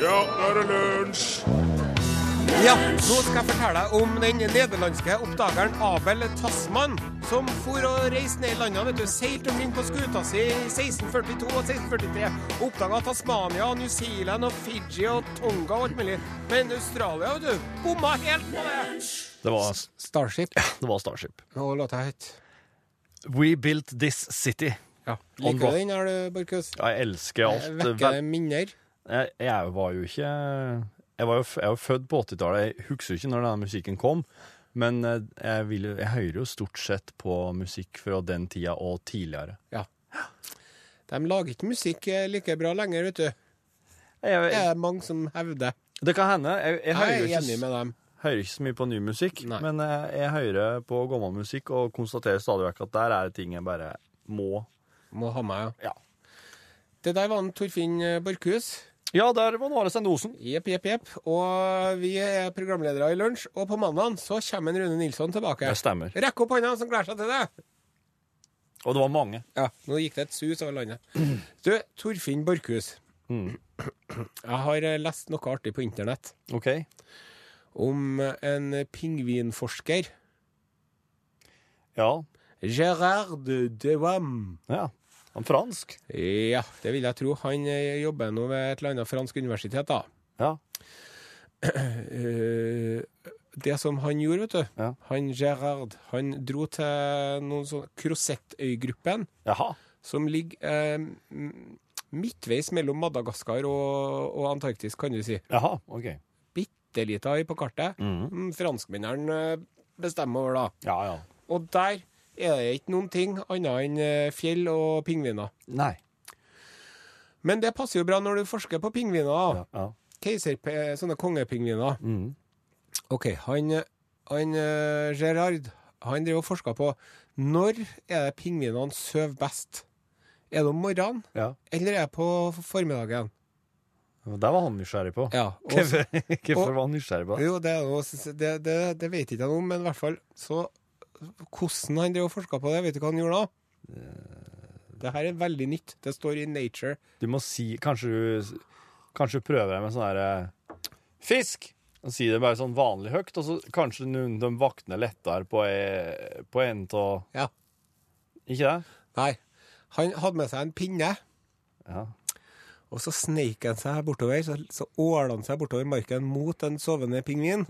Ja, nå er det lunsj! Ja, nå skal jeg fortelle deg om den nederlandske oppdageren Abel Tasman, som for å reise ned i landet, vet du, seilte omkring på skuta si i 1642 og 1643, og oppdaga Tasmania, New Zealand og Fiji og Tonga og alt mulig. Men Australia, vet du, bomma helt på det! Det var, Starship, det var Starship. og låta het. We built this city. Ja. On Liker rock. du den, er du, Borchhus? Eh, Ja, Jeg elsker alt. Vekker minner. Jeg, jeg var jo ikke Jeg var jo, f- jeg var født på 80-tallet. Jeg husker ikke når denne musikken kom. Men eh, jeg, vil, jo- jeg hører jo stort sett på musikk fra den tida og tidligere. De lager ikke musikk eh, like bra lenger, vet du. Jeg, Det jeg, er mange som hevder. det kan hende. Jeg, jeg, hører, Jeg jo er enig ikke, med dem. s- hører ikke så mye på ny musikk, Nei. men jeg, jeg hører på gammel musikk og konstaterer stadig vekk at der er det ting jeg bare må Må ha meg, Ja, Det der var en Torfinn eh, Borchhus. ja der var Are Sendosen. Jepp, jepp, jepp. Og vi er programledere i Lunsj, og på mandag så kommer en Rune Nilsson tilbake. Det stemmer. Rekk opp hånda som gleder seg til det! Og det var mange. Ja, nå gikk det et sus over landet. Du, Torfinn Borchhus. Jeg har eh, lest noe artig på internett OK. om eh, en pingvinforsker. Ja. Gerard de Wam. ja. Han fransk. Ja, det vil jeg tro. Han eh, jobber nå ved et eller annet fransk universitet, da. Ja. Eh, det som han gjorde, vet du Ja. Han Gerard, han dro til noen sånn Krosettøygruppen, Jaha. som ligger eh, m- midtveis mellom Madagaskar og, og Antarktis, kan du si. Jaha. OK. Bitte lita øy på kartet. Mhm. Mm, Franskmennene eh, bestemmer over, da. Ja, ja. Og der er det ikke noen ting annet enn eh, fjell og pingviner. Nei. Men det passer jo bra når du forsker på pingviner. da. Ja, ja. Keiserpe... Sånne kongepingviner. Mhm. Ok, han, han eh, Gerard, han driver og forsker på når er det pingvinene søv best? Er det om morgenen, ja. eller er det på formiddagen? Der var han nysgjerrig på. Ja, og, Hvorfor og- hvorfor var han nysgjerrig på det? jo, det, er noe- det, det, det vet ikke jeg noe om, men i hvert fall så Hvordan han drev og forska på det, vet du hva han gjorde da? Det her er veldig nytt. Det står i Nature. Du må si Kanskje du Kanskje du prøver deg med sånn herre Fisk! Og si det bare sånn vanlig høyt, og så kanskje noen de vakner lettere på, e- på en av Ja. Ikke det? Nei. Han hadde med seg en pinne. Ja. Og så sneik han seg bortover, så, så åla han seg bortover marken mot en sovende pingvin.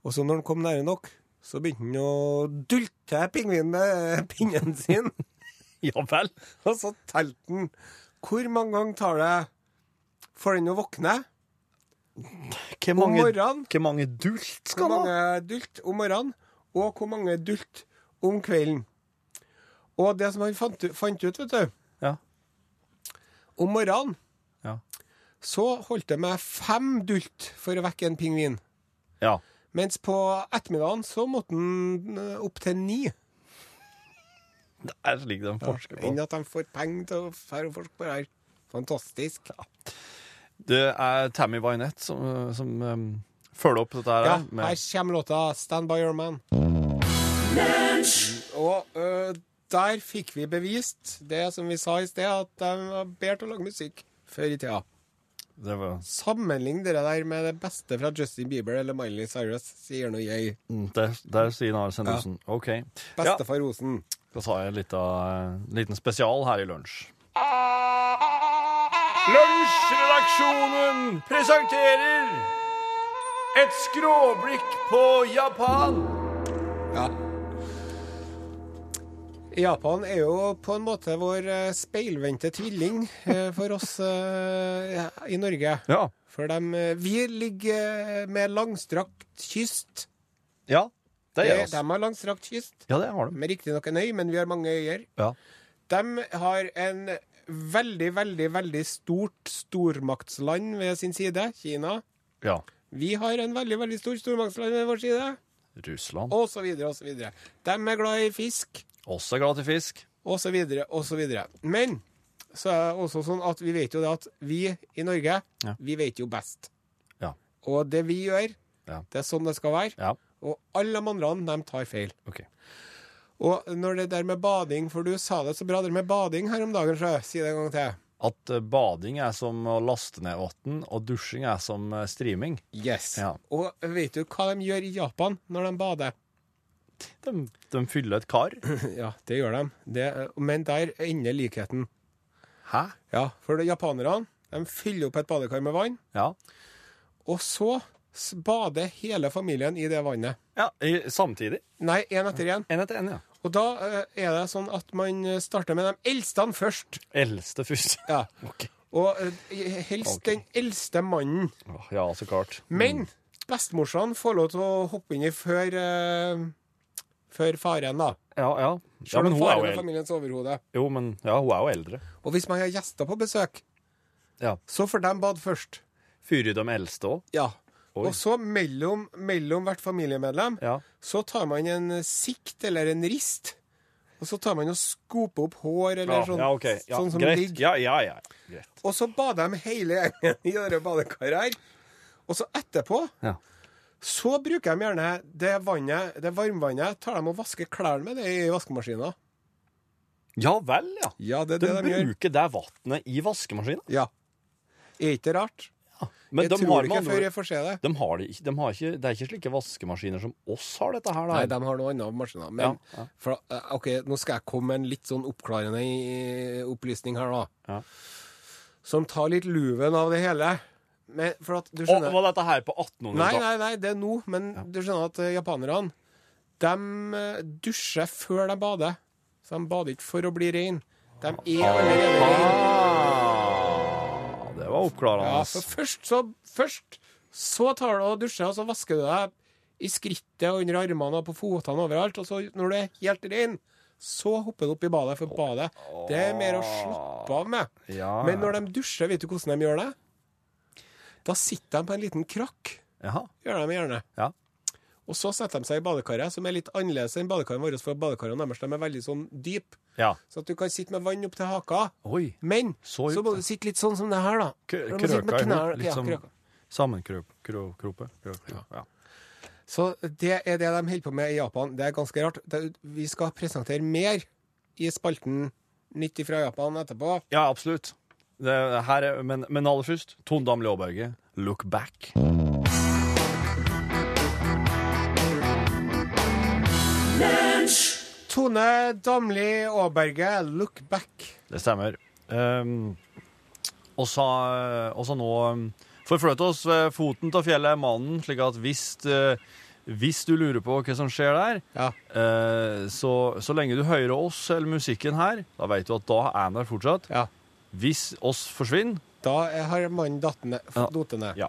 Og så når han kom nære nok, så begynte han å dulte pingvinen med pinnen sin. ja vel? og så telte han. Hvor mange ganger tar det for den å våkne? Hvor Om mange, morgenen? hvor mange dult Hvor skal han ha? mange dult om morgenen? Og hvor mange dult om kvelden? Og det som han fant, u- fant ut, vet du Ja. Om morgenen Ja. så holdt det med fem dult for å vekke en pingvin. ja. Mens på ettermiddagen så måtte han eh, opp til ni. Det er slik de forsker på. Enn at de får penger til å fære og forske på det her. Fantastisk. Det er Tammy Wynette som, som um, følger opp dette her. eh, Ja, med- her kommer låta 'Stand by your man'. Og eh, der fikk vi bevist det som vi sa i sted, at de var bedre til å lage musikk før i tida. det var, Sammenlign det der med det beste fra Justin Bieber eller Miley Cyrus, sier nå jeg. Mm, der, der sier Nare Sendelsen. OK. Ja, Bestefar Osen. da tar jeg en liten, liten spesial her i lunsj. Lunsjredaksjonen presenterer et skråblikk på Japan. Ja. Japan er jo på en måte vår eh, speilvendte tvilling eh, for oss eh, ja, i Norge. Ja. For dem, eh, vi ligger eh, med langstrakt kyst. Ja, det gjør De, oss. de har langstrakt kyst, Ja, det har de. med riktignok en øy, men vi har mange øyer. Ja. De har en veldig, veldig, veldig stort stormaktsland ved sin side, Kina. ja. Vi har en veldig, veldig stor stormaktsland ved vår side, Russland. og så videre, og så videre. De er glad i fisk. Også glad til fisk. og så videre, og så videre. Men så er det også sånn at vi vet jo det at vi i Norge, Ja. vi vet jo best. Ja. Og det vi gjør, Ja. det er sånn det skal være. Ja. Og alle de andre, de tar feil. OK. Og når det der med bading, for du sa det så bra, det med bading her om dagen, så si det en gang til. at eh, bading er som å laste ned vann, og dusjing er som eh, streaming. Yes. Ja. Og vet du hva de gjør i Japan når de bader? De, de fyller et kar. Ja, det gjør de. Det, men der ender likheten. Hæ? Ja, for de japanerne de fyller opp et badekar med vann, Ja. og så s- bader hele familien i det vannet. ja i, samtidig. Nei, én etter én. En etter en, ja. Og da eh, er det sånn at man eh, starter med de eldste først. Eldste først. Ja. Ok. Og eh, helst Ok. den eldste mannen. Åh, Ja, så klart. Men bestemorsene får lov til å hoppe inni før, eh, før faren, da. Ja, ja. ja Selv men om hun er faren jo er eldre. familiens overhode. Jo, men ja, hun er jo eldre. Og hvis man har gjester på besøk, Ja. så får de bade først. Fyrer de eldste òg? Ja. Oi. Og så mellom, mellom hvert familiemedlem Ja. så tar man en eh, sikt eller en rist. Og så tar man og skoper opp hår eller sånn, ja, ok. Ja, sånn som greit. ligger. Ja, ja, ja. Greit. Og så bader de hele gjengen i dette badekaret her. Og så etterpå Ja. så bruker de gjerne det vannet, det varmvannet tar de og vasker klærne med det i vaskemaskina. ja vel, ja. Ja, det er De det de, gjør. bruker det vannet i vaskemaskinen. Ja. Er ikke det rart? Men Jeg de tror har, det med ikke andre, før ord- jeg får se det. de har det ikke, de har ikke Det er ikke slike vaskemaskiner som oss har dette her, da. Nei, de har noe annet på maskina. Men Ja, ja. For, eh, OK, nå skal jeg komme med en litt sånn oppklarende i- opplysning her, da. Ja. Som tar litt luven av det hele. Men, for at, du Å, skjønner var dette her på Nei, 1800-tallet? nei, nei, det er nå. Men du skjønner at eh, japanerne de eh, dusjer før de bader. Så de bader ikke for å bli rein. De er allerede rein. Ah, det var Ja, oppklarende. så først, så, først så tar du og dusjer, og så vasker du deg i skrittet og under armene og på fotene og overalt. Og så når du er helt rein, så hopper du opp i badet, for badet det er mer å slappe av med. Ja. Men når de dusjer, vet du hvordan de gjør det? Da sitter de på en liten krakk, Jaha. gjør de gjerne. Ja. Og så setter de seg i badekaret, som er litt annerledes enn badekarene våre, for badekarene deres de er veldig sånn dyp, Ja. så at du kan sitte med vann opp til haka. Oi. Men så, Så dypt, må ja. du sitte litt sånn som det her, da. Krøka Du må i sitte med knær- hop. ja, Litt sånn som krøka. sammenkrope. Ja. Så det er det de holder på med i Japan. Det er ganske rart. Det, vi skal presentere mer i spalten Nytt ifra Japan etterpå. Ja, absolutt. Det her er, men, men aller først, Tone Damli Aaberge, 'Look Back'. Tone Damli Aaberge, 'Look Back'. Det stemmer. Um, og så og så nå um, forflytt oss ved foten av fjellet, mannen, slik at hvis, eh, hvis du lurer på hva som skjer der, Ja. eh, så, så lenge du hører oss eller musikken her, da vet du at da er han der fortsatt. ja. Hvis oss forsvinner Da er- har mannen datt ned. Ja. Datt ned. Ja.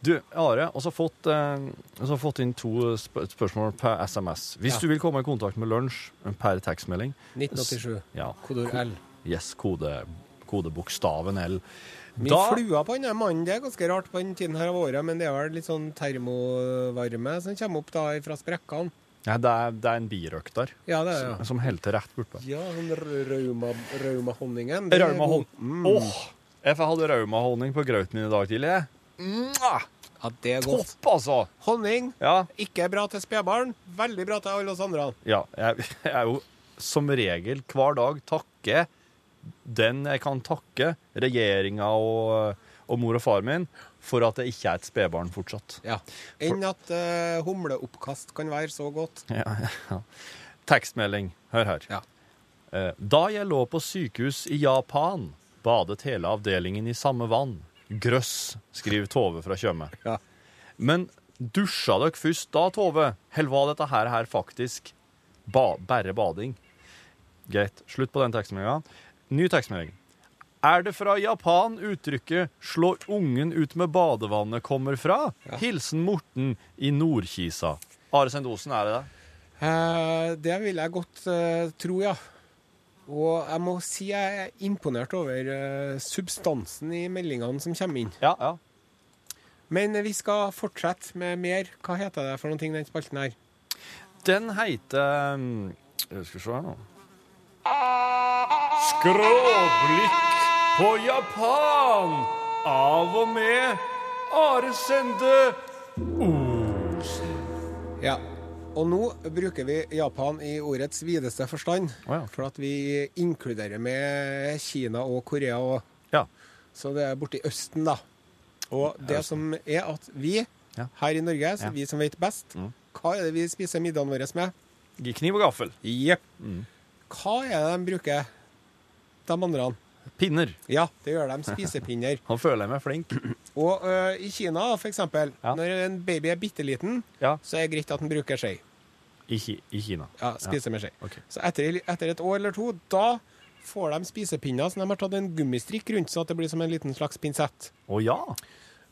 Du, Are, vi har fått, eh, oss har fått inn to sp spørsmål per SMS. Hvis Ja. du vil komme i kontakt med lunsj eh, per tekstmelding, 1987. ja, Kodord L. yes, kode, kodebokstaven L. Mye Da- flua på denne mannen. Det er ganske rart på den tiden her av året, men det er vel litt sånn termovarme som kommer opp da fra sprekkene. Ja, det, er, det er en birøkt der, Ja, det er som, det. som helte rett bortpå. Ja, sånn rauma- raumahonningen. Den er god. Raumahon. Mm. Åh! Jeg hadde raumahonning på grauten min i dag tidlig. jeg. Mm. Mwah! Ja, det er godt. Topp, altså! Honning. Ja, Ikke bra til spedbarn, veldig bra til alle oss andre. ja jeg, jeg er jo som regel hver dag takke den jeg kan takke, regjeringa og, og mor og far min, for at jeg ikke er et spedbarn fortsatt. Ja. Enn at eh, humleoppkast kan være så godt. Ja, ja. Tekstmelding. Hør her. Ja. Eh, Da jeg lå på sykehus i Japan, badet hele avdelingen i samme vann. Grøss, skriver Tove fra Tjøme. Ja. Men dusja dere først da, Tove? Eller var dette her, her faktisk ba bare bading? Greit. Slutt på den tekstmeldinga. Ny tekstmelding. Er det fra Japan uttrykket 'slå ungen ut med badevannet' kommer fra? Hilsen Morten i Nordkisa. Are Sendosen, er det det? Eh, det vil jeg godt eh, tro, ja. Og jeg må si jeg er imponert over eh, substansen i meldingene som kommer inn. Ja, ja. Men vi skal fortsette med mer. Hva heter det for noen ting, den spalten her? Den heter mm, um, Skal vi se her nå Skråblikk på Japan av og med Are Sende Osen. Ja. Og nå bruker vi Japan i ordets videste forstand. Å ja. For at vi inkluderer med Kina og Korea og Ja. Så det er borti Østen, da. Og det som er at vi Ja. her i Norge, så Ja. vi som vet best, Mm. hva er det vi spiser middagen vår med? Kniv og gaffel. Jepp. Mm. Hva er det de bruker, de andre? Pinner. Ja, det gjør de. Spisepinner. Han føler jeg meg flink. Og ø, i Kina, for eksempel, Ja. når en baby er bitte liten, Ja. så er det greit at den bruker skje. I, Ki- i Kina. Ja, spiser med skje. Ok. Så etter, etter et år eller to, da får de spisepinner som de har tatt en gummistrikk rundt, så at det blir som en liten slags pinsett. Å ja.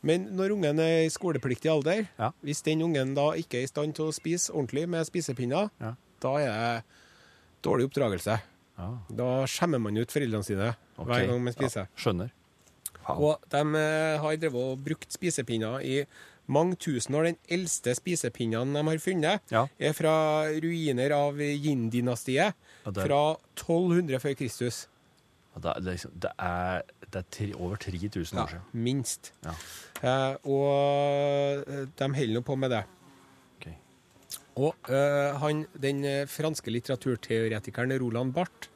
Men når ungen er i skolepliktig alder, Ja. hvis den ungen da ikke er i stand til å spise ordentlig med spisepinner, Ja. da er det dårlig oppdragelse. ja. Da skjemmer man ut foreldrene sine ok. hver gang man Ja, spiser. skjønner. Wow. Og de eh, har drevet og brukt spisepinner i mange tusen år. Den eldste spisepinnen de har funnet, Ja. er Eh, fra ruiner av Yin-dynastiet Ja, der. fra 1200 før Kristus. Og Det, er- det, er liksom- det er, det er tre, over 3000 år siden. Minst. Ja. Eh, og eh, de holder nå på med det. Ok. Og eh, han, den eh, franske litteraturteoretikeren Roland Barth,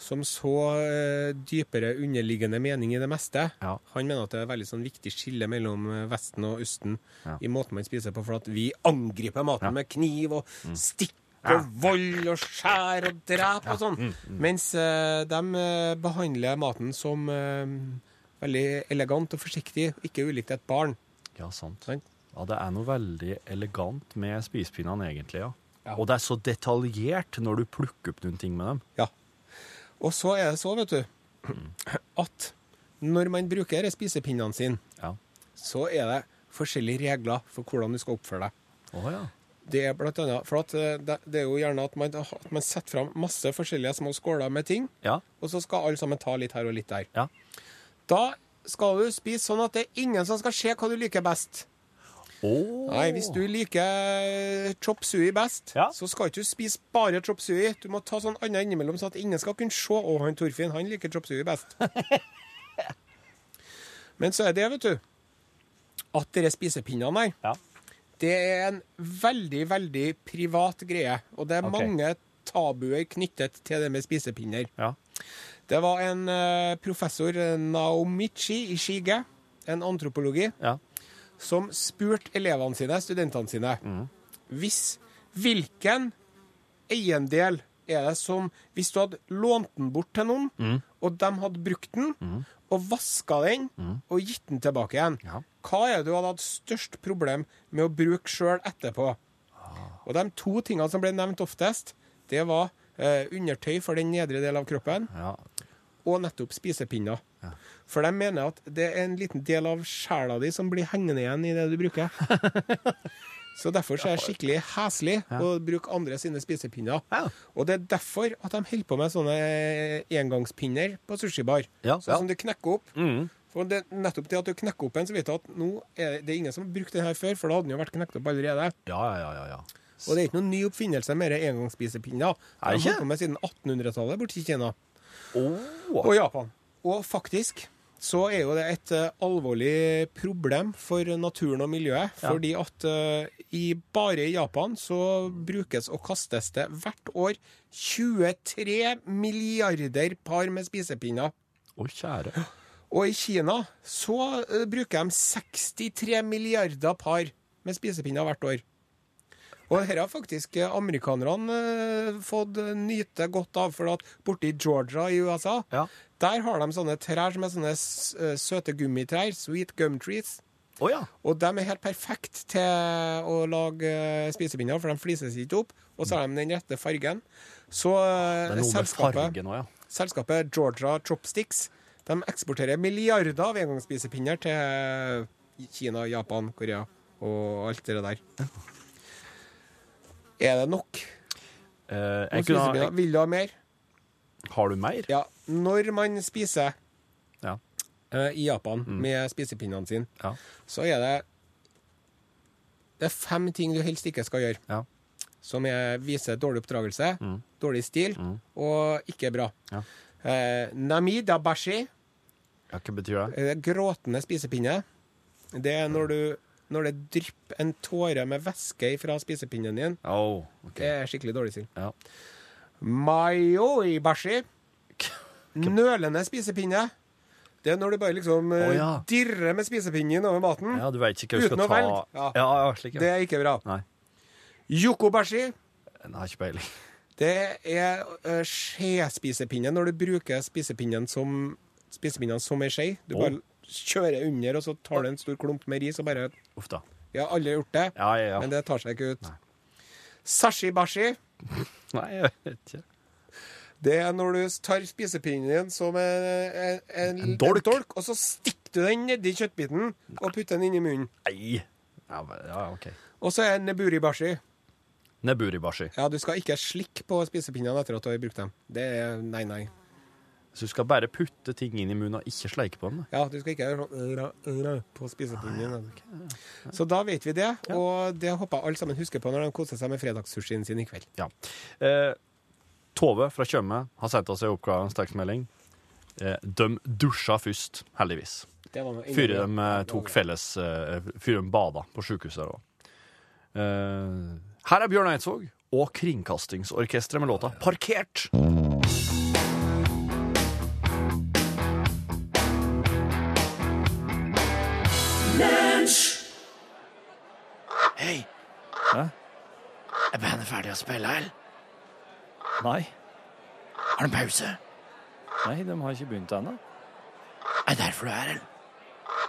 som så eh, dypere underliggende mening i det meste, Ja. han mener at det er veldig sånn viktig skille mellom eh, Vesten og Østen Ja. i måten man spiser på, for at vi angriper maten Ja. Mm. med kniv og stikk og vold og skjær og drep og sånn, Mm, mens eh, de eh, behandler maten som eh, veldig elegant og forsiktig, ikke ulikt et barn. Ja, sant. Sant? Ja, det er noe veldig elegant med spisepinnene, egentlig. ja. Ja. Og det er så detaljert når du plukker opp noen ting med dem. Ja. Og så er det så, vet du, at når man bruker disse spisepinnene sine, Ja. så er det forskjellige regler for hvordan du skal oppføre deg. Å ja. Det er blant annet, for at eh, det, det er jo gjerne at man, at man setter fram masse forskjellige små skåler med ting, Ja. og så skal alle sammen ta litt her og litt der. Ja. Da skal du spise sånn at det er ingen som skal se hva du liker best. Å. Nei, hvis du liker eh, chop sui best, Ja. så skal ikke du spise bare chop sui. Du må ta sånn annet innimellom, sånn at ingen skal kunne se å, han Torfinn, han liker chop sui best. Men så er det, vet du, at dere spisepinnene her, Ja. det er en veldig, veldig privat greie. Og det er Ok. mange tabuer knyttet til det med spisepinner. Ja. Det var en eh, professor, eh, Naomichi Ishige, en antropologi, Ja. som spurte elevene sine, studentene sine, hvis hvilken eiendel er det som Hvis du hadde lånt den bort til noen, og de hadde brukt den, og vaska den, og gitt den tilbake igjen, Ja. hva er det du hadde hatt størst problem med å bruke sjøl etterpå? Og de to tingene som ble nevnt oftest, det var eh, undertøy for den nedre del av kroppen, ja. og nettopp spisepinner. For de mener at det er en liten del av sjela di som blir hengende igjen i det du bruker. Så derfor så er det skikkelig heslig å bruke andre sine spisepinner. Ja. Og det er derfor at de holder på med sånne eh, engangspinner på sushibar. Ja, ja. Mm. Sånn som du knekker opp. For det, nettopp det at du knekker opp en, så vet du at nå er det- det er ingen som har brukt den her før, for da hadde den jo vært knekt opp allerede. Ja, ja, ja, ja. Og det er ikke noen ny oppfinnelse med de engangsspisepinner. De Er har det ikke? holdt på med siden 1800-tallet borti Kina. Å. Og Japan. Og faktisk så er jo det et eh, alvorlig problem for naturen og miljøet. Ja. Fordi at eh, i, bare i Japan så brukes og kastes det hvert år 23 milliarder par med spisepinner. Å, kjære. Og i Kina så eh, bruker de 63 milliarder par med spisepinner hvert år. Og dette har faktisk eh, amerikanerne eh, fått nyte godt av, for at borti Georgia i USA Ja. der har de sånne trær som er sånne s- eh, søte gummitrær, sweet gum trees. Å ja. Og de er helt perfekte til å lage eh, spisepinner, for de flises ikke opp. Og så har de den rette fargen. Så Det eh, er noe med selskapet, fargen òg, ja. selskapet Georgia Chopsticks de eksporterer milliarder av engangsspisepinner til Kina, Japan, Korea og alt det der. Er det nok? Eh, med jeg kunne, ha- spisepinner? Vil du ha mer? jeg, har du mer? Ja. Når man spiser Ja. eh, i Japan Mm. med spisepinnene sine, Ja. så er det Det er fem ting du helst ikke skal gjøre, Ja. Mm. som er, viser dårlig oppdragelse, dårlig stil og ikke bra. Ja. Eh, nami dabashi, ja. Hva betyr det? eh, gråtende spisepinne, det er når, du, når det drypper en tåre med væske fra spisepinnen din. Å, ok. Det er skikkelig dårlig stil. Ja. Mayoibashi. Nølende spisepinne. Det er når du bare liksom eh, Å, ja. dirrer med spisepinnen over maten. Ja, du veit ikke hva du skal Uten å ta velge. Ja, Ja. ja, slik, Det ja. er ikke bra. Nei, Yokobashi, jeg har ikke peiling. det er uh, skjespisepinne når du bruker spisepinnen som, spisepinnen som ei skje. Du Å. bare kjører under, og så tar du en stor klump med ris og bare Uff da. Ja, alle har gjort det, Ja, ja, ja. men det tar seg ikke ut. Sashi-bashi, Nei, jeg vet ikke. det er når du tar spisepinnen din som en, en, en, En dolk. og så stikker du den nedi kjøttbiten og putter den inn i munnen. Nei. Ja, men- ja OK. Og så er neburi-bashi. Neburibashi. Ja, du skal ikke slikke på spisepinnene etter at du har brukt dem. Det er nei, nei. Så du skal bare putte ting inn i munnen og ikke sleike på den? da. Ja, du skal ikke gjøre sånn ra, ra, på spisepinnen. altså. Så da vet vi det, og det håper jeg alle sammen husker på når de koser seg med fredagssushien sin i kveld. Ja. Eh, Tove fra Tjøme har sendt oss en oppklarende tekstmelding. Eh, de dusja først, heldigvis. Det var noe Før innmari- de eh, tok felles eh, Før de bada på sjukehuset her òg. Eh, her er Bjørn Eidsvåg og Kringkastingsorkesteret med låta 'Parkert'. Hei! Er bandet ferdig å spille, eller? Nei, Har de pause? nei, de har ikke begynt ennå. Er det derfor du er her, eller?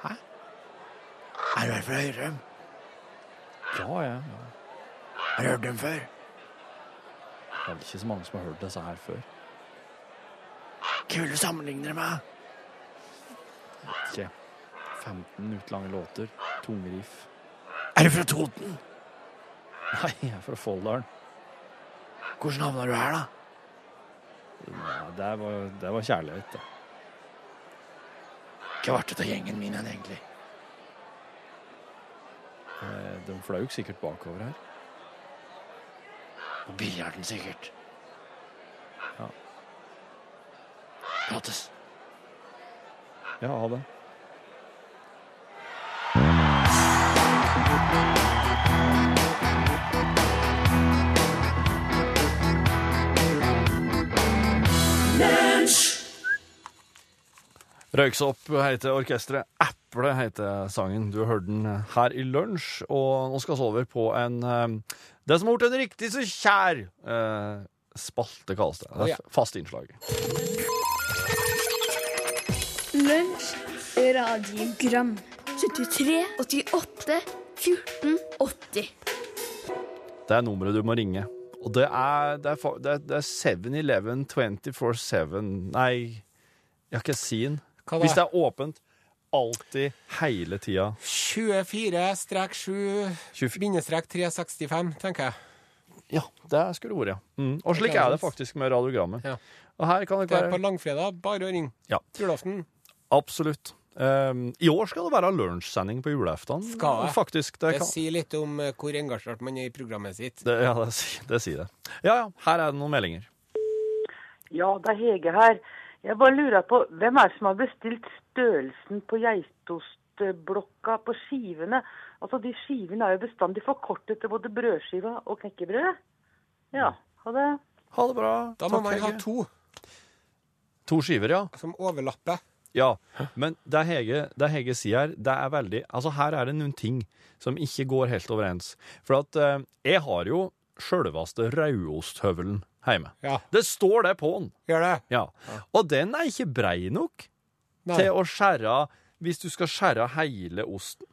Hæ? Er du her for å høre dem? Ja, ja, ja. Har du hørt dem før? Det er ikke så mange som har hørt disse her før. Hvem vil du sammenligne dem med? Ikke 15 minutter lange låter, tungriff. Er du fra Toten? Nei, jeg er fra Folldalen. Hvordan havna du her, da? Ja, det, var, det var kjærlighet, det. Hva ble det av gjengen min igjen, egentlig? Eh, De flaug sikkert bakover her. På biljarden, sikkert. Ja. Prates. Ja, ha det. Røyksopp heter orkesteret. Eple heter sangen. Du har hørt den her i lunsj. Og nå skal vi over på en eh, Det som har gjort en riktig så kjær eh, spalte, kalles det. Det Å, ja. er f- fast innslag. Lunsj radiogram 73 88 14 80 Det er nummeret du må ringe. Og det er, det er, fa- det er, det er 7-Eleven 24-7 Nei, jeg har ikke seen. Hva da? Hvis det er åpent. Alltid, hele tida. 24-7 bindestrek 365, tenker jeg. Ja, det skulle det vært, ja. Mm. Og slik er det faktisk med radiogrammet. Ja. Og her kan det Det er på være langfredag, bare å ringe. Ja. Julaften. Absolutt. Ehm, I år skal det være lunsjsending på julaften. Skal det? Faktisk. Det, Det kan, sier litt om eh, hvor engasjert man er i programmet sitt. det, ja, det, si- det sier det. Ja, ja. Her er det noen meldinger. Ja, det er Hege her. Jeg bare lurer på, hvem er det som har bestilt størrelsen på geitostblokka på skivene? Altså, de skivene er jo bestandig forkortet til både brødskiva og knekkebrød. Ja, ha det. Ha det bra. Da må Takk, man ha Hege. to to skiver, ja. som overlapper. Ja, men det Hege, det Hege sier her, det er veldig Altså, her er det noen ting som ikke går helt overens. For at eh, jeg har jo sjølveste raudosthøvelen hjemme. Ja. Det står det på den. Gjør det? Ja. Og den er ikke brei nok Nei. til å skjære Hvis du skal skjære hele osten.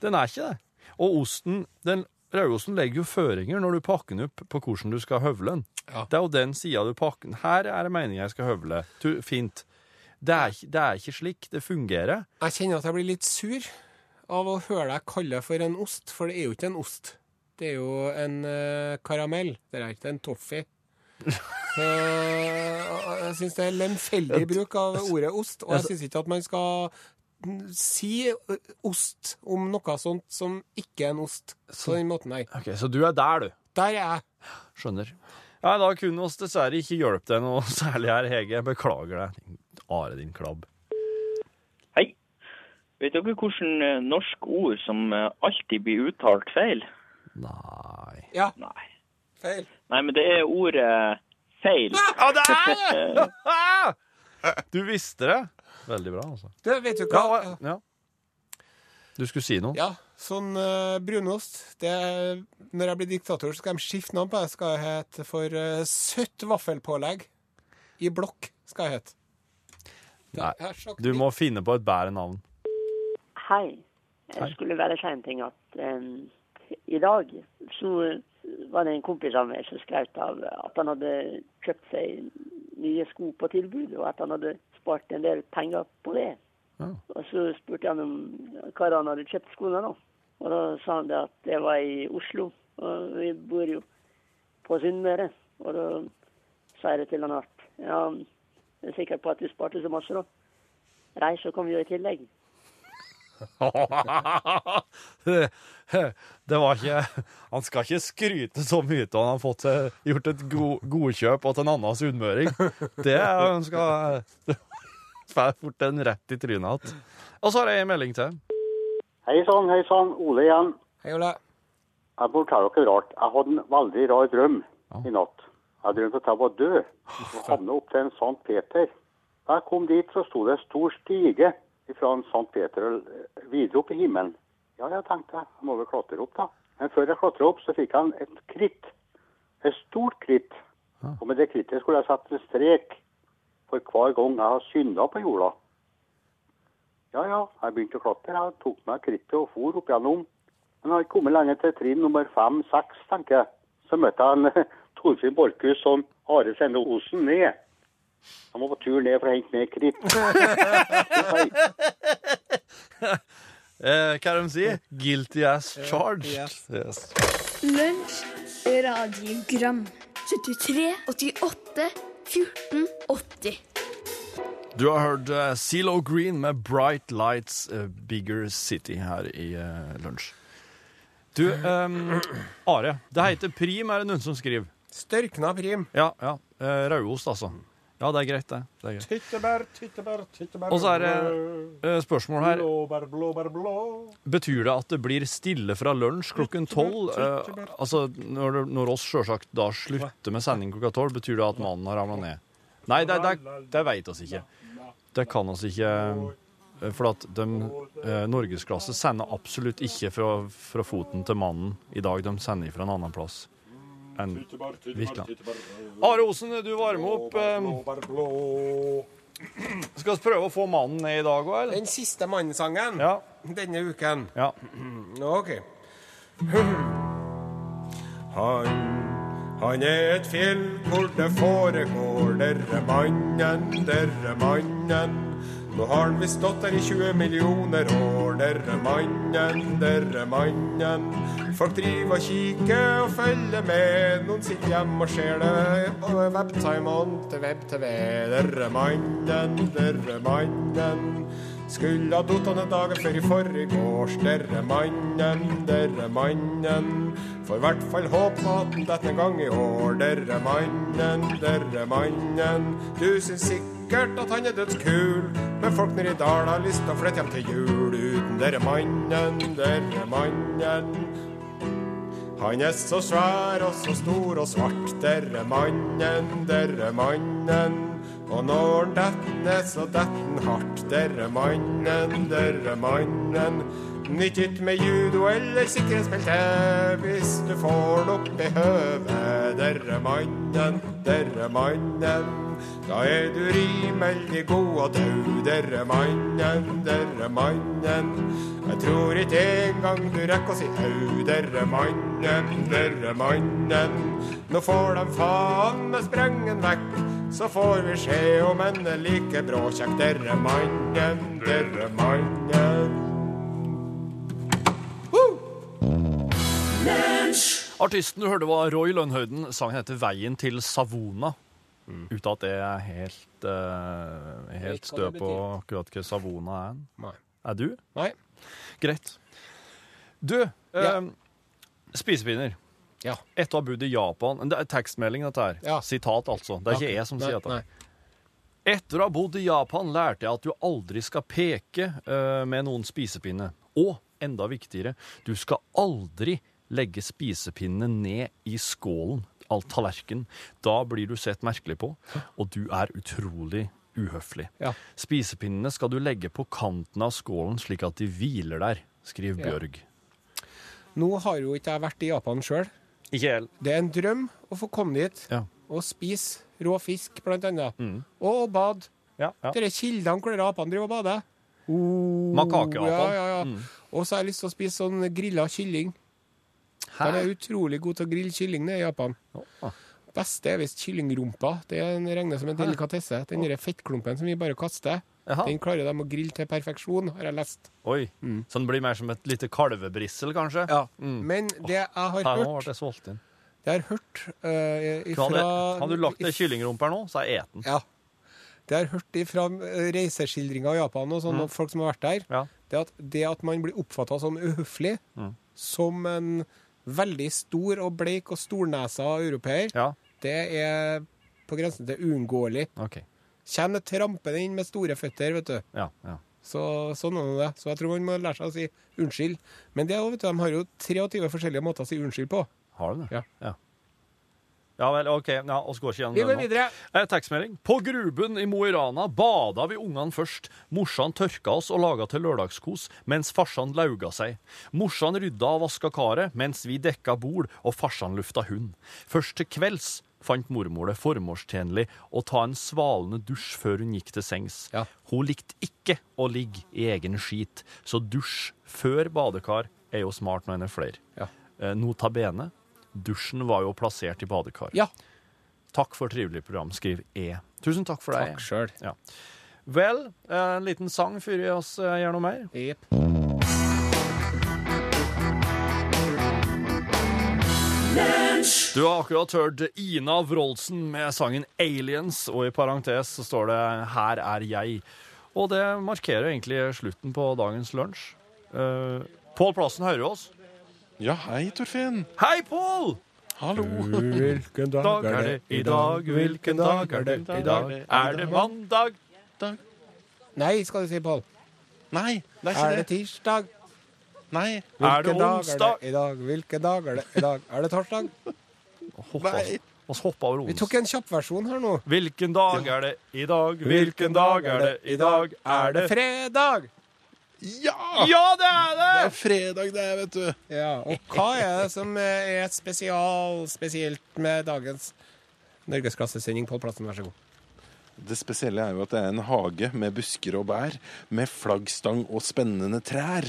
Den er ikke det. Og osten, den rødosten legger jo føringer når du pakker den opp på hvordan du skal høvle den. Ja. Det er jo den sida du pakker den. Her er det meningen jeg skal høvle. Du, fint. Det er, ikke- det er ikke slik det fungerer. Jeg kjenner at jeg blir litt sur av å høre deg kalle det for en ost, for det er jo ikke en ost. Det er jo en eh, karamell. Det er ikke en toffee. Så eh, jeg syns det er lemfeldig bruk av ordet ost, og jeg syns ikke at man skal si eh, ost om noe sånt som ikke er en ost. På den måten, nei. Ok, Så du er der, du. Der er jeg. Skjønner. Ja, da kunne oss dessverre ikke hjulpet deg noe særlig her, Hege. Jeg Beklager deg. Are, din klabb. Hei. Vet dere hvordan eh, norsk ord som eh, alltid blir uttalt feil? Nei Ja, Nei. feil. Nei, men det er ordet feil. Ja, det er det! Du visste det? Veldig bra, altså. Du, vet du hva? Ja, ja. Du skulle si noe? Ja, sånn eh, brunost det, Når jeg blir diktator, så skal de skifte navn på det. Skal jeg hete for eh, søtt vaffelpålegg i blokk. skal jeg hete. Det Nei, er sagt Du må finne på et bedre navn. Hei. Jeg skulle bare si en ting at em, i dag så var det en kompis av meg som skrøt av at han hadde kjøpt seg nye sko på tilbud, og at han hadde spart en del penger på det. Ja. Og så spurte han om hva han hadde kjøpt skoene da. Og da sa han det at det var i Oslo, og vi bor jo på Sunnmøre. Og da sa jeg det til han at ja, jeg er sikker på at du sparte så masse da. Nei, så kom vi jo i tillegg. det var ikke Han skal ikke skryte så mye av han har fått seg- gjort et go godkjøp til en annen sunnmøring. Det er- han skal Får fort den rett i trynet igjen. Og så har jeg en melding til. Hei sann, hei sann. Ole igjen. Hei, Ole. Jeg må fortelle dere rart. Jeg hadde en veldig rar drøm i natt. Jeg drømte at jeg var død og havnet opp til en Sankt Peter. Da jeg kom dit, så sto det en stor stige fra en Sankt Peter og eh, videre opp i himmelen. Ja, jeg tenkte jeg. Jeg må vel klatre opp, da. Men før jeg klatra opp, så fikk jeg en- et kritt. Et stort kritt. Og med det krittet skulle jeg sette en strek for hver gang jeg har synda på jorda. Ja, ja, jeg begynte å klatre. Jeg tok meg krittet og for opp gjennom. Men jeg hadde kommet lenge til trinn nummer fem-seks, tenker jeg. Så møtte jeg en Torfinn Borchhus som Are Sende Osen ned. Han var på tur ned for å hente ned kritt. Eh, hva er det de sier? Guilty as charged. Yes. Yes. Lunsj, radiogram 73 88 14 80 Du har hørt eh, CeeLo Green med 'Bright Lights eh, Bigger City' her i eh, lunsj. Du, ehm, Are. Det heter Prim, er det noen som skriver. Størkna prim. Ja, ja. Eh, Raudost, altså. Ja, det er greit, det. det er greit. Tyttebær, tyttebær, tyttebær. Og så er det eh, spørsmål her. Blåbær, blåbær, blå. Betyr det at det blir stille fra lunsj klokken tolv? Eh, altså, når, det- når oss sjølsagt da slutter med sending klokka tolv, betyr det at mannen har ramla ned? Nei, det, det, det veit oss ikke. Det kan oss ikke. eh, For at de eh, norgesklasse sender absolutt ikke fra, fra foten til mannen i dag. De sender fra en annen plass enn Tyttebær, tyttebær, Virkelig. tyttebær. Are Osen, du varmer opp. Blåbær, blåbær, eh, blå. Skal vi prøve å få mannen ned i dag òg, eller? Den siste mannsangen Ja. denne uken. ja. OK. Hm. Han han er et fjell hvor det foregår derre mannen, derre mannen. Nå har han visst stått der i 20 millioner år, derre mannen, derre mannen. Folk driver og kikker og følger med, noen sitter hjemme og ser det over webtimeren til web-TV. Derre mannen, derre mannen. Skulle ha datt han en dag før i forgårs, derre mannen, derre mannen. Får i hvert fall håpe at han detter en gang i år, derre mannen, derre mannen. Du syns sikkert at han er dødskul, men folk nedi dalen har lyst til å flytte hjem til jul uten derre mannen, derre mannen. Han er så svær og så stor og svart, derre mannen, derre mannen. Og når han detter ned, så detter han hardt, derre mannen, derre mannen. Nytt ut med judo eller sikkerhetsbelte hvis du får det opp i høvet, derre mannen, derre mannen. Da er du rimelig god og dau, derre mannen, derre mannen. Jeg tror ikke engang du rekker å si au, derre mannen, derre mannen. Nå får de faen meg sprengen vekk, så får vi se om en er like bråkjekk, derre mannen, derre mannen. Artisten du hørte var Roy Lønnhøyden. Sangen heter 'Veien til Savona'. Uten at jeg er helt, eh, helt vet hva stø det på akkurat hva Savona er. Nei. Er du? Nei. Greit. Du, eh, Ja. spisepinner. Ja. Etter å ha bodd i Japan Det er tekstmelding, dette her. Ja. Sitat, altså. Det er ikke jeg som sier dette. Nei. Etter å ha bodd i Japan lærte jeg at du aldri skal peke eh, med noen spisepinne. Og enda viktigere, du skal aldri legge spisepinnene ned i skålen, all tallerkenen. Da blir du sett merkelig på, og du er utrolig uhøflig. Spisepinnene skal du legge på kanten av skålen slik at de hviler der, skriver Ja. Bjørg. Nå har jo ikke jeg vært i Japan sjøl. Det er en drøm å få komme dit og spise rå fisk, blant annet. Mm. Og bade. Ja, ja. Dere kildene hvor dere apene driver og bader. Oh, Makakeapene. Ja, ja, ja. Mm. Og så har jeg lyst til å spise sånn grilla kylling. De er utrolig gode til å grille kylling nede i Japan. Beste er visst kyllingrumpa. Det er en- regnes som en delikatesse. Den derre fettklumpen som vi bare kaster, Jaha. den klarer de å grille til perfeksjon, har jeg lest. Oi. Så den blir mer som et lite kalvebrissel, kanskje? Mm. Men det jeg har Her nå hørt- ble jeg solgt inn. Det jeg har hørt eh, ifra Hadde, hadde du lagt ned kyllingrumper nå, så hadde jeg et den. Ja. Det jeg har hørt ifra eh, reiseskildringer i Japan og sånn, Mm. og folk som har vært der, det, at, det at man blir oppfatta som uhøflig, Mm. som en veldig stor og bleik og stornesa europeer, det er på grensen til uunngåelig. Okay. Kjenner trampende inn med store føtter, vet du. Ja, ja. Så, sånn er nå det. Så jeg tror man må lære seg å si unnskyld. Men det, er jo, vet du, de har jo 23 forskjellige måter å si unnskyld på. Har du det? Ja. ja. vel, OK. Ja, oss går ikke gjennom Vi den går nå. videre. Eh, tekstmelding. På Gruben i Mo i Rana bada vi ungene først. Morsan tørka oss og laga til lørdagskos, mens farsan lauga seg. Morsan rydda og vaska karet, mens vi dekka bord og farsan lufta hund. Først til kvelds fant mormor det formålstjenlig å ta en svalende dusj før hun gikk til sengs. Hun likte ikke å ligge i egen skit, så dusj før badekar er jo smart når en er flere. Eh, nota bene, dusjen var jo plassert i badekaret. Takk for trivelig program, skriver E. Tusen takk for deg. Takk sjøl. Ja. Vel, eh, en liten sang før vi oss eh, gjør noe mer. Du har akkurat hørt Ina Wroldsen med sangen 'Aliens', og i parentes så står det 'Her er jeg'. Og det markerer egentlig slutten på dagens lunsj. Uh, Pål Plassen hører du oss. Ja, hei, Torfinn. Hei, Pål! Hallo. Hvilken dag er det i dag? Hvilken dag er det i dag? Er det mandag? Nei, skal du si, Pål. Nei, det er ikke Er det det. tirsdag? Nei. Hvilken dag er det i dag? Hvilken dag er det i dag? Er det torsdag? altså. Nei. Vi hoppa over Vi tok en kjappversjon her nå. Hvilken dag er det i dag? Hvilken dag er det i dag? Er det fredag? Ja! Ja, det er det! Det er fredag, det, er, vet du. Ja, og hva er det som er spesial, spesielt med dagens norgesklassesending? Pål Plassen, vær så god. Det spesielle er jo at det er en hage med busker og bær, med flaggstang og spennende trær.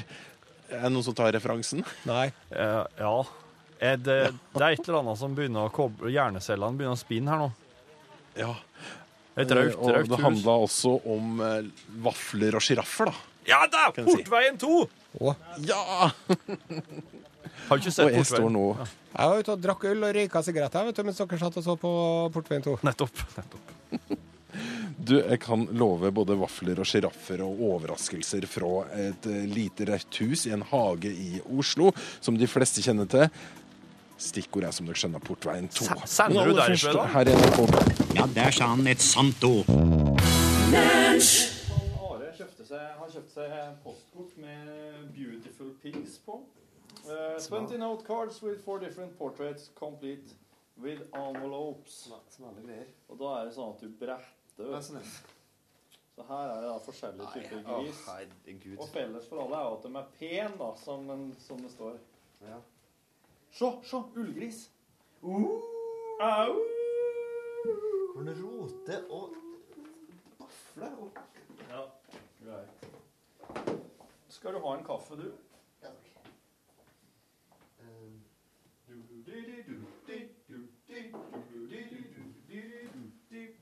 Er det noen som tar referansen? Nei. Eh, ja. Er det, det er et eller annet som begynner å koble Hjernecellene begynner å spinne her nå. Ja. Et raut, Eh, Og raut det hus. handla også om eh, vafler og sjiraffer, da. Ja da! Kan jeg si. Portveien 2! Ja! Har du ikke sett Og jeg står Portveien? nå Jeg var ute og drakk øl og røyka sigaretter vet du, mens dere satt og så på Portveien 2. Nettopp. nettopp. Du, jeg kan love både vafler og sjiraffer og overraskelser fra et eh, lite rødt hus i en hage i Oslo, som de fleste kjenner til. Stikkord er som dere skjønner Portveien 2. Men sender du aller først, derifra, da? Her er NRK. Ja, der sa han et sant ord. Are kjøpte seg, har kjøpt seg postkort med 'Beautiful Pigs' på. Uh, 20 note cards with four different portraits complete with envelopes. Og da er det sånn at du bretter. vet du. Så her er det da forskjellige typer Nei, å, gris. og felles for alle er jo at de er pen, da, som, en- som det står. Se, se, ullgris. Au! Hvordan rote og bafle og Ja, greit. Skal du ha en kaffe, du? Ehm. Ja, takk.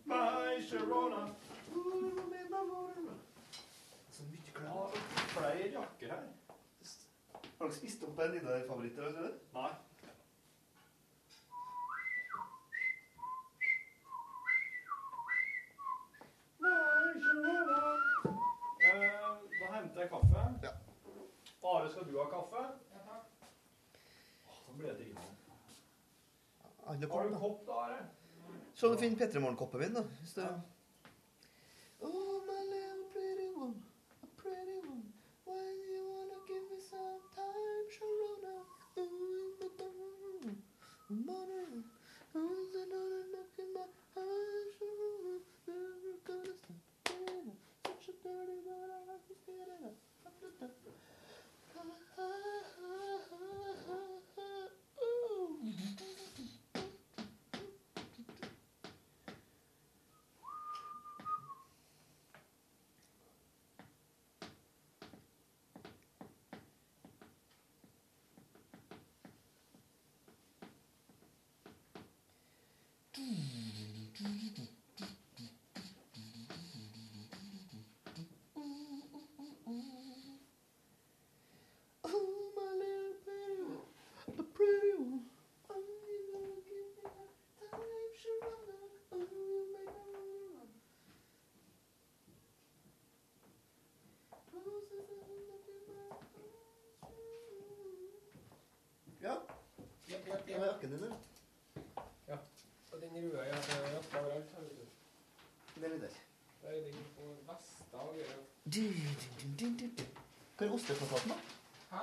By Sharona. Så mye klær. Flere jakker her. Har dere spist opp en av dine favoritter? Eller? Nei. By Sharona. Eh, Da henter jeg kaffe. Ja. Are, skal du ha kaffe? Ja, takk. Nå ble det innom. Alle Har du kopp, da, Are? Så du finner Petremorgen-koppen min, da. Hvis det... Ja. Jeg jeg har jakken din, eller? Ja. Og den røde jeg har jakka overalt. her, vet du. Den er der. Der er den på vesta og greier. Du, du, du, du, du. Hvor er osteplakaten, da? Hæ?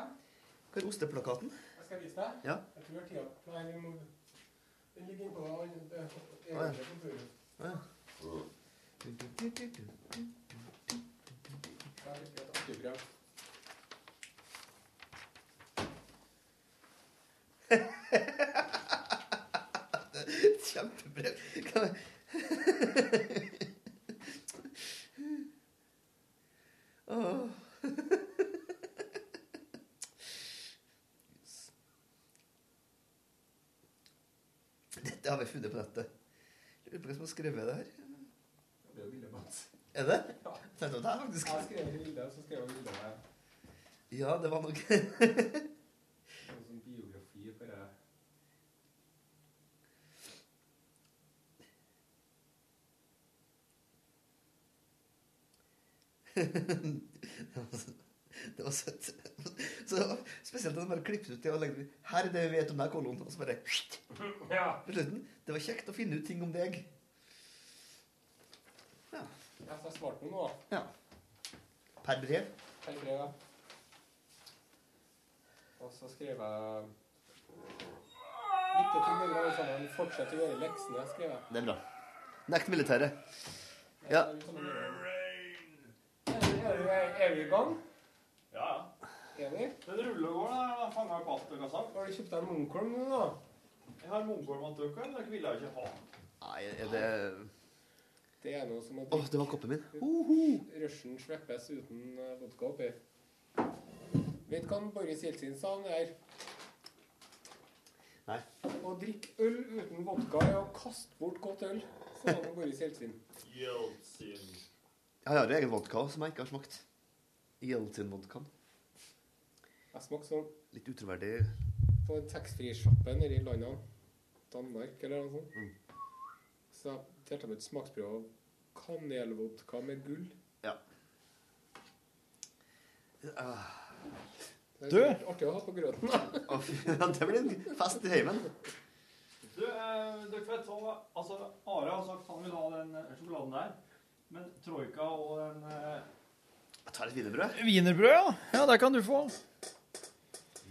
Hvor er osteplakaten? Jeg skal vise deg. Ja. Jeg tror tida Nei, vi må Den ligger innpå den andre- det er- Å, ja. det er på bordet. Ja. Du, du, du, du, du. Der ligger et autogram. Kjempebrev. Kan jeg- Åh. Dette har vi funnet på nettet. Lurer på hvem som har skrevet det her. Det er jo bildet mitt. Er det? Tenkte at det er faktisk Jeg skrev et bilde, og så skrev jeg bilde av deg. Ja, det var nok Noe sånn biografi for deg. Det var søtt. Så det var spesielt at de bare klippet ut det og legde Her er det vi vet om deg, kolon. Og så bare Ja. På slutten. Det var kjekt å finne ut ting om deg. Ja, så jeg svarte noe, da. Ja. Per brev. Per brev, ja. Og så skrev jeg Lykke til, dere alle sammen. Fortsett å gjøre leksene, skrev jeg. Det er bra. Nekt militæret. Ja. Er vi, er vi i gang? Ja, ja. Er vi? Den ruller og går, da. Jeg fanga opp alt dere sa. Har du kjøpt deg Munkholm nå, da? Jeg har munkholm av dere, men dere ville jo ikke ha. Nei, er det Det er noe som at Å, det var koppen min. Russian sveppes uten eh, vodka oppi. Vet hva han Boris Jeltsin sa om det her? Nei. Å drikke øl uten vodka er å kaste bort godt øl, sa han om Boris Jeltsin. Jeltsin. Jeg har jo egen vodka også, som jeg ikke har smakt. Jeltsin-vodkaen. Jeg smakte sånn Litt utroverdig. på en taxfree-sjappe nede i landene. Danmark eller noe sånt. Så jeg delte dem ut smaksprøve av kanelvodka med gull. Ja. Det er Du! sikkert Artig å ha på grøten, da. Å, fy, ja, det blir en fest i heimen. Du, eh, dere vet hva Altså, Are har sagt han vil ha den eh, sjokoladen der. Men Troika og den eh, Jeg tar litt wienerbrød. Wienerbrød, ja. Ja, det kan du få.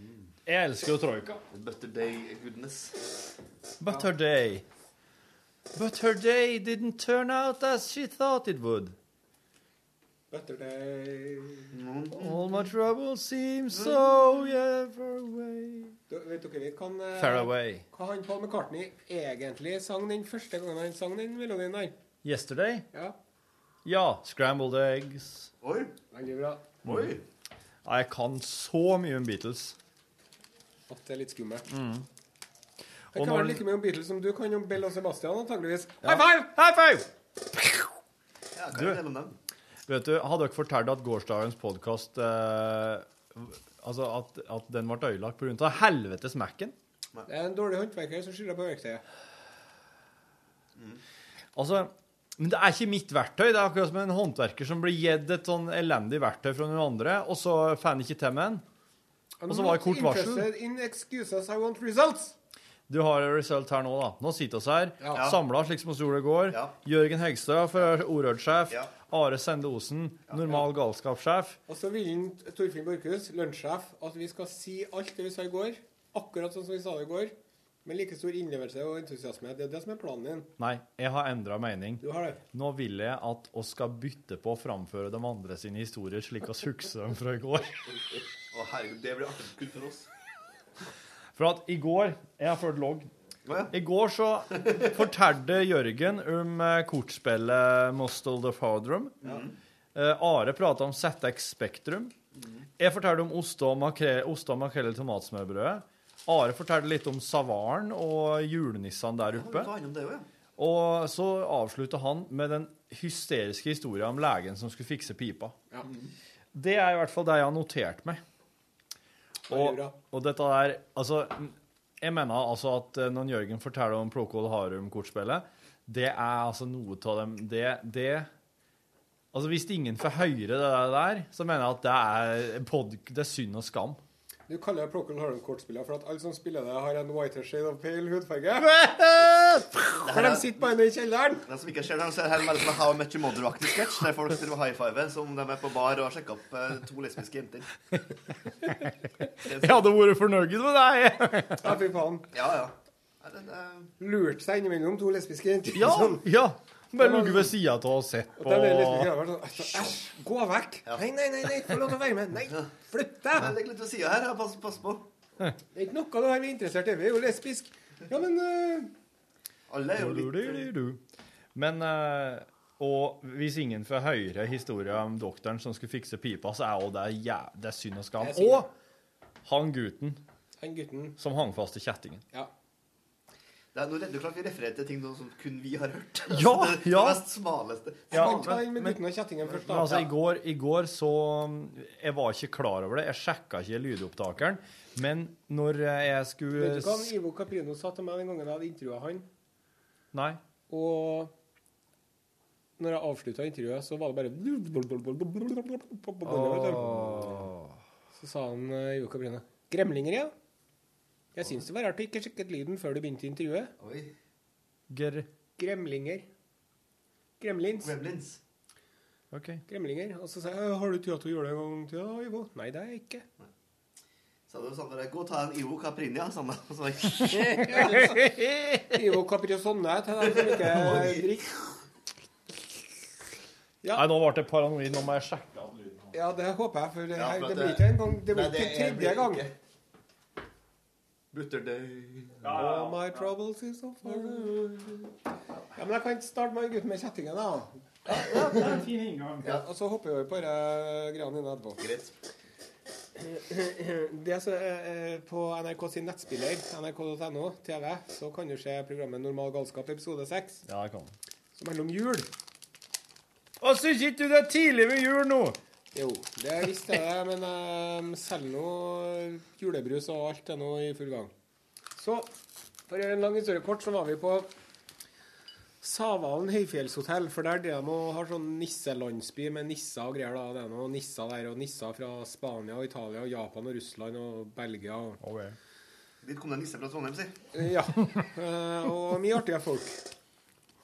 Mm. Jeg elsker jo troika. Butter day goodness. But her day But her day didn't turn out as she thought it would. Better day. All my trouble seems so ever away. Du, vet dere litt hva han eh, Far away. Hva han Paul McCartney egentlig sang den første gangen han sang den melodien der? Yesterday? Ja. Ja. Scrambled eggs. Oi. Veldig bra. Mm. Oi. Ja, jeg kan så mye om Beatles. At det er litt skummelt. Mm. Jeg Og kan når- vel like mye om Beatles som du kan om Bell og Sebastian, antageligvis. Ja. High five! High five! hva Du, vet du, hadde dere fortalt at gårsdagens podkast eh, Altså at, at den ble ødelagt pga. helvetes Mac-en? Det er en dårlig håndverker som skylder på verktøyet. Altså, men det er ikke mitt verktøy. Det er akkurat som en håndverker som blir gitt et sånn elendig verktøy fra noen andre, og så får han ikke til med den. Og så var det kort varsel. Interested in excuses, I want results. Du har et result her nå, da. Nå sitter vi her, Ja. samla slik som vi gjorde i går. Jørgen Hegstad, for Orød-sjef. Ja. Are Sende Osen, normal galskapssjef. Og så vil han, Torfinn Borchhus, lunsjsjef, at vi skal si alt det vi sa i går, akkurat sånn som vi sa det i går, med like stor innlevelse og entusiasme. Det er det som er planen din. Nei, jeg har endra mening. Du har det. Nå vil jeg at vi skal bytte på å framføre de andre sine historier, slik vi husker dem fra i går. Å, herregud, det blir artig kutt for oss. For at i går Jeg har ført logg. I går så fortalte Jørgen om eh, kortspillet Mostel the Fardrum. Mhm. Eh, Are prata om ZX Spektrum. Jeg fortalte om ost og makrell, ost og makrell i tomatsmørbrødet. Are fortalte litt om Savaren og julenissene der oppe. Hva annet om det også, ja? Og så avslutta han med den hysteriske historien om legen som skulle fikse pipa. Ja. Det er i hvert fall det jeg har notert meg. Og, og dette er Altså, jeg mener altså at eh, når Jørgen forteller om Plåkål Harum-kortspillet, det er altså noe av dem Det, det Altså, hvis ingen får høre det der, så mener jeg at det er, pod, det er synd og skam. Du kaller det Procol Harum-kortspiller for at alle som spiller det, har en whiter shade of pale hudfarge. For de sitter bare nede i kjelleren. De som ikke ser dem, så er det her bare sånn How Much Mother-aktig sketsj, der folk driver high five som om de er på bar og har sjekket opp eh, to lesbiske jenter. Jeg hadde vært fornøyd med deg. Ja, fy faen. Ja, ja. eh, Lurt seg innimellom to lesbiske jenter. Ja, sånn. ja. Bare ligge ved sida av og sett Og på. de er lesbiske jenter bare sånn «Æsj, Æsj, gå vekk! Nei, nei, nei, nei, få lov til å være med! Nei, flytt deg! Jeg ligger litt ved sida her, jeg pass, pass på. Det er ikke noe du har vi er interessert i. Vi er jo lesbisk. Ja, men eh, Alle er jo Men eh, Og hvis ingen får høre historien om doktoren som skulle fikse pipa, så er jo det, jæv- det er synd og skam. Det er synd. Og han gutten Han gutten. som hang fast i kjettingen. Det er, nå er det jo klart vi refererer til ting som kun vi har hørt. Altså, Ja, det, det ja. mest smaleste. Ja, Smale. men- Gutten og kjettingen først, Men da. altså, i går, i går så mm, Jeg var ikke klar over det. Jeg sjekka ikke lydopptakeren. Men når jeg skulle Vet du hva han Ivo Caprino sa til meg den gangen jeg hadde intervjua han? Nei. Og når jeg avslutta intervjuet, så var det bare på båndet, vet du. Så sa han eh, Ivo Caprino Gremlinger, ja. Jeg syns det var rart du ikke sjekket lyden før du begynte intervjuet. Ger... Gremlinger. Gremlins. Gremlins. Gremlinger. Og så sa jeg Har du tid til å gjøre det en gang til, da, Ivo? Nei, det har jeg ikke. Så det var sånn der, Gå og ta en Ivo Caprinia. Sånn, da. så, Ivo sånn Capriosonne til dem som ikke drikker. Nei, nå ble jeg paranoid. Nå må jeg sjekke av lyden. Ja, det håper jeg, for det, Ja, her, for det at blir det- ikke en gang Det blir Nei, det ikke er- tredje gang. Butterdøy All my troubles is so far away. Ja, men jeg kan ikke starte med en gutt med kjettingen, da. Ja, og så hopper vi over på disse greiene dine etterpå. Det som er eh, På NRK sin nettspiller, nrk.no TV, så kan du se programmet Normal galskap episode 6, Ja, jeg kan. som handler om jul. Og syns ikke du det er tidlig med jul nå? Jo, det visste jeg, det, men eh, selv nå julebrus og alt er nå i full gang. Så, for å gjøre en lang historie kort, så var vi på Savalen høyfjellshotell, for der de nå har sånn nisselandsby med nisser og greier. da, Det er noe nisser der, og nisser fra Spania og Italia og Japan og Russland og Belgia. og... Dit kom det en nisse fra Trondheim, si. Eh, Ja. Eh, Og mye artige folk.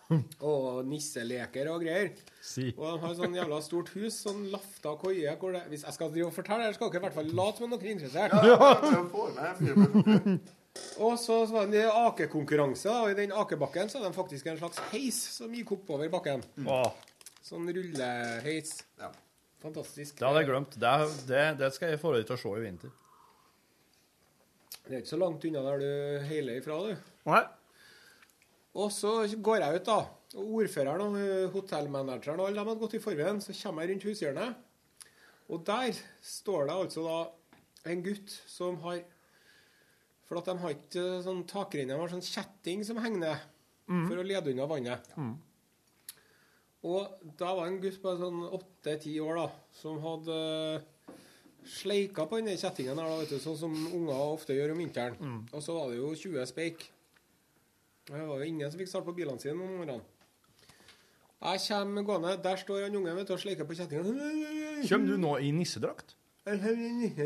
Og nisseleker og greier. Si. Og de har et sånn jævla stort hus, sånn lafta koie hvor det Hvis jeg skal drive og fortelle det, skal dere i hvert fall late som om dere er interessert. Og så så var det en akekonkurranse, da, og i den akebakken så hadde de faktisk en slags heis som gikk oppover bakken. Åh. Sånn rulleheis. Fantastisk. Det hadde jeg glemt. Det, er- det, det skal jeg få deg til å se i vinter. Det er ikke så langt unna der du heiler ifra, du. Nei. Og så går jeg ut, da. Og ordføreren og eh, hotellmanageren og alle de hadde gått i forveien. Så kommer jeg rundt hushjørnet, og der står det altså da en gutt som har For at de har ikke eh, sånn takrenner, de har sånn kjetting som henger ned Mhm. for å lede unna vannet. Mhm. Og da var en gutt på sånn åtte-ti år da, som hadde eh, sleika på denne kjettingen her, da, vet du, sånn som unger ofte gjør om vinteren. Mm. Og så var det jo 20 speik. Og Det var jo ingen som fikk starte på bilene sine om morgenen. Jeg kommer gående, der står han ungen vet du, og sleiker på kjettingen. Kommer du nå i nissedrakt?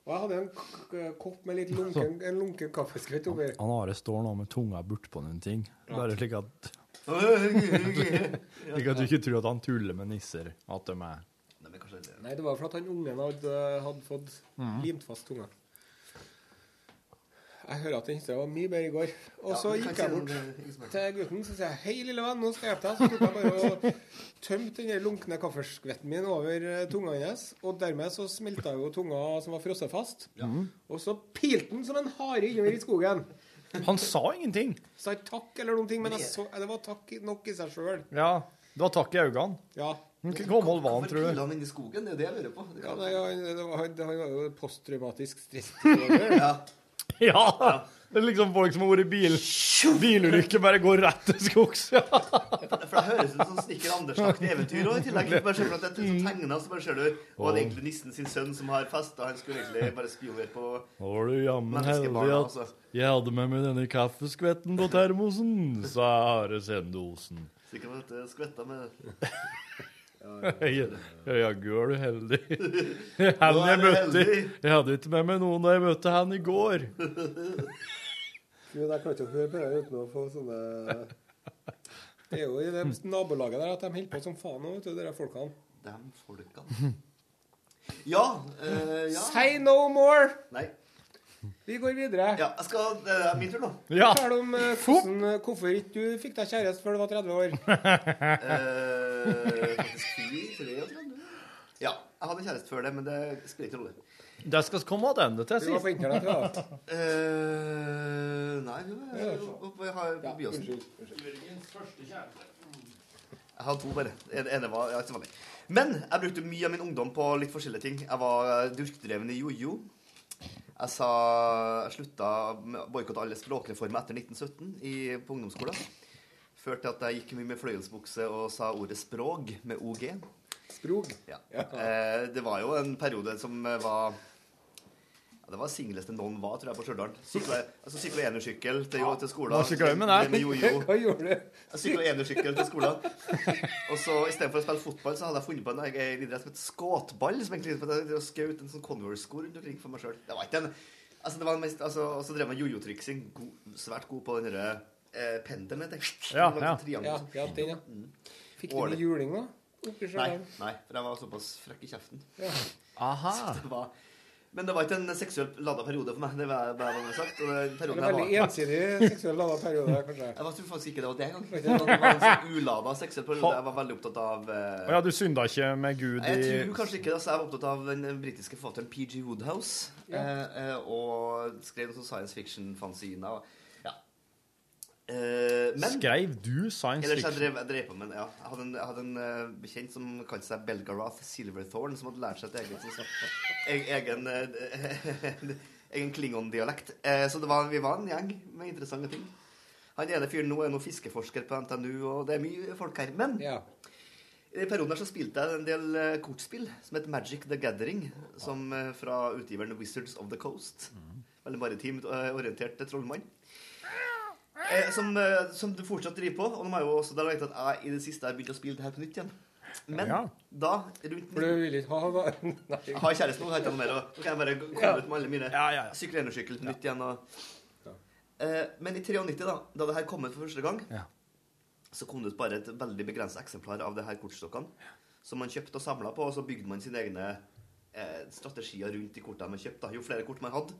Og jeg hadde en k- k- kopp med litt lunken, en lunken kaffeskvett oppi. Han Are står nå med tunga bortpå noen ting. Bare slik at Slik at du ikke tror at han tuller med nisser. At de er Nei, det var for at han ungen hadde, eh, hadde fått Mhm. limt fast tunga. Jeg hører at den historien var mye bedre i går. Og Ja, så men gikk kanskje jeg bort den, eh, ikke til gutten så sa jeg, hei, lille venn, nå skal jeg hjelpe deg. Så tok jeg bare og tømte den der lunkne kaffeskvetten min over eh, tunga hennes. Og dermed så smelta jo tunga som var frosset fast. Og så pilte den som en hare innover i skogen. Han sa ingenting. Sa ikke takk eller noen ting, men jeg så, det var takk nok i seg sjøl. Ja. Du har takk i øynene. Ja. Hvor gammel var han, tror du? han inn i skogen? Det er det jeg lurer på. Det Ja, kan- nei, han, det var, han han var jo posttraumatisk stressdisorder. Ja! Det er liksom folk som har vært i bil. bilulykke, bare går rett til skogs. Ja. For det høres ut som Snikker Andersen-aktig eventyr òg, i tillegg. Bare ser for at det er sånn tegnet, så bare ser du Og det er egentlig nissen sin sønn som har fest, og han skulle egentlig bare spionere på Da var du jammen heldig Menneskebarna, at altså. jeg hadde med meg denne kaffeskvetten på termosen, sa Are Sendosen. Sikkert at det skvetta med Ja, ja, gøl uheldig. Han Nå er jeg du møtte heldig. Jeg hadde ikke med meg noen da jeg møtte han i går. Gud, jeg kan ikke høre på det uten å få sånne Det er jo i det nabolaget der at de holder på som faen nå, vet du, de der folkene. Dem folkene. Ja, eh, ja. Say no more! Nei. Vi går videre. Ja, jeg skal, det er min tur nå. Ja. Fortell om eh, hvordan, eh, hvorfor ikke du fikk deg kjæreste før du var 30 år. Eh, faktisk fire, tre, jeg tror. Ja, jeg hadde kjæreste før det, men det spiller ikke rolle. Det skal komme tilbake til Du var på internett, ja. sist. Eh, Nei, hun er oppe i har- på Byåsen. Jørgens første kjæreste. Jeg har to, bare. En- Ene var ja, ikke så vanlig. Men jeg brukte mye av min ungdom på litt forskjellige ting. Jeg var eh, durkdreven i jojo. Jeg sa Jeg slutta med å boikotte alle språkreformer etter 1917 i, på ungdomsskolen. Førte til at jeg gikk mye med fløyelsbukse og sa ordet sprog med OG. Sprog? Ja. Eh, det var jo en periode som eh, var ja, det var singleste noen var, tror jeg, på Stjørdal. Sykla altså, sykla enersykkel til, jo- til skolen. Hva sykla du med der? Drev jojo. Hva gjorde du? Jeg sykla enersykkel til skolen. Og så i stedet for å spille fotball, så hadde jeg funnet på en egen idrett som het skåtball. Som egentlig var å skaute en sånn Converse-sko rundt omkring for meg sjøl. Det var ikke en Altså, det var den mest altså, Og så drev jeg med jojo-triksing. God- Svært god på den derre eh, pendelen, heter det. Ja, Den var ja. sånn triangel. Ja, ja, den, ja. Mm. Fikk du Årlig. med juling, da? Oppi Nei, Stjørdal? nei, for jeg var såpass frekk i kjeften. Ja. Aha. Så det var, men det var ikke en seksuelt lada periode for meg. Det var, det var sagt, og den Eller perioden jeg veldig var- ensidig seksuell lada periode, kanskje. Jeg tror faktisk ikke det var det engang. Det var- det var en sånn ulada seksuell periode. Jeg var veldig opptatt av eh, Å ja, du synda ikke med Gud Nei, Jeg i tror kanskje ikke det. så Jeg var opptatt av den eh, britiske forfatteren PG Woodhouse. Ja. eh, eh, Og skrev noen sånn science fiction-fanziner. og- Ja. Eh, Men Skrev du science Ellers jeg fiction? drev, jeg drev på med ja. Jeg hadde en, jeg hadde en eh, bekjent som kalte seg Belgarath Silverthorn, som hadde lært seg et eget sånn- e- egen, eh, egen Klingon-dialekt. Eh, så det var, vi var en gjeng med interessante ting. Han ene fyren nå er nå fiskeforsker på NTNU, og det er mye folk her. Men i den perioden her så spilte jeg en del eh, kortspill som het Magic the Gathering, som eh, fra utgiveren Wizards of the Coast. Veldig maritimt eh, orientert eh, trollmann. Eh, som, eh, som du fortsatt driver på. Og nå må jeg jo også da lagt at jeg i det siste har begynt å spille det her på nytt igjen. Men Ja. da rundt For du vil ikke ha da? Nei. Jeg har kjæreste nå, har ikke noe mer. og Nå kan jeg bare komme Ja. ut med alle mine sykler og sykkel på nytt igjen. Og, eh, men i 93, da da det her kom ut for første gang, så kom det ut bare et veldig begrenset eksemplar av det her kortstokkene. Som man kjøpte og samla på, og så bygde man sine egne eh, strategier rundt de kortene man kjøpte. da. Jo flere kort man hadde,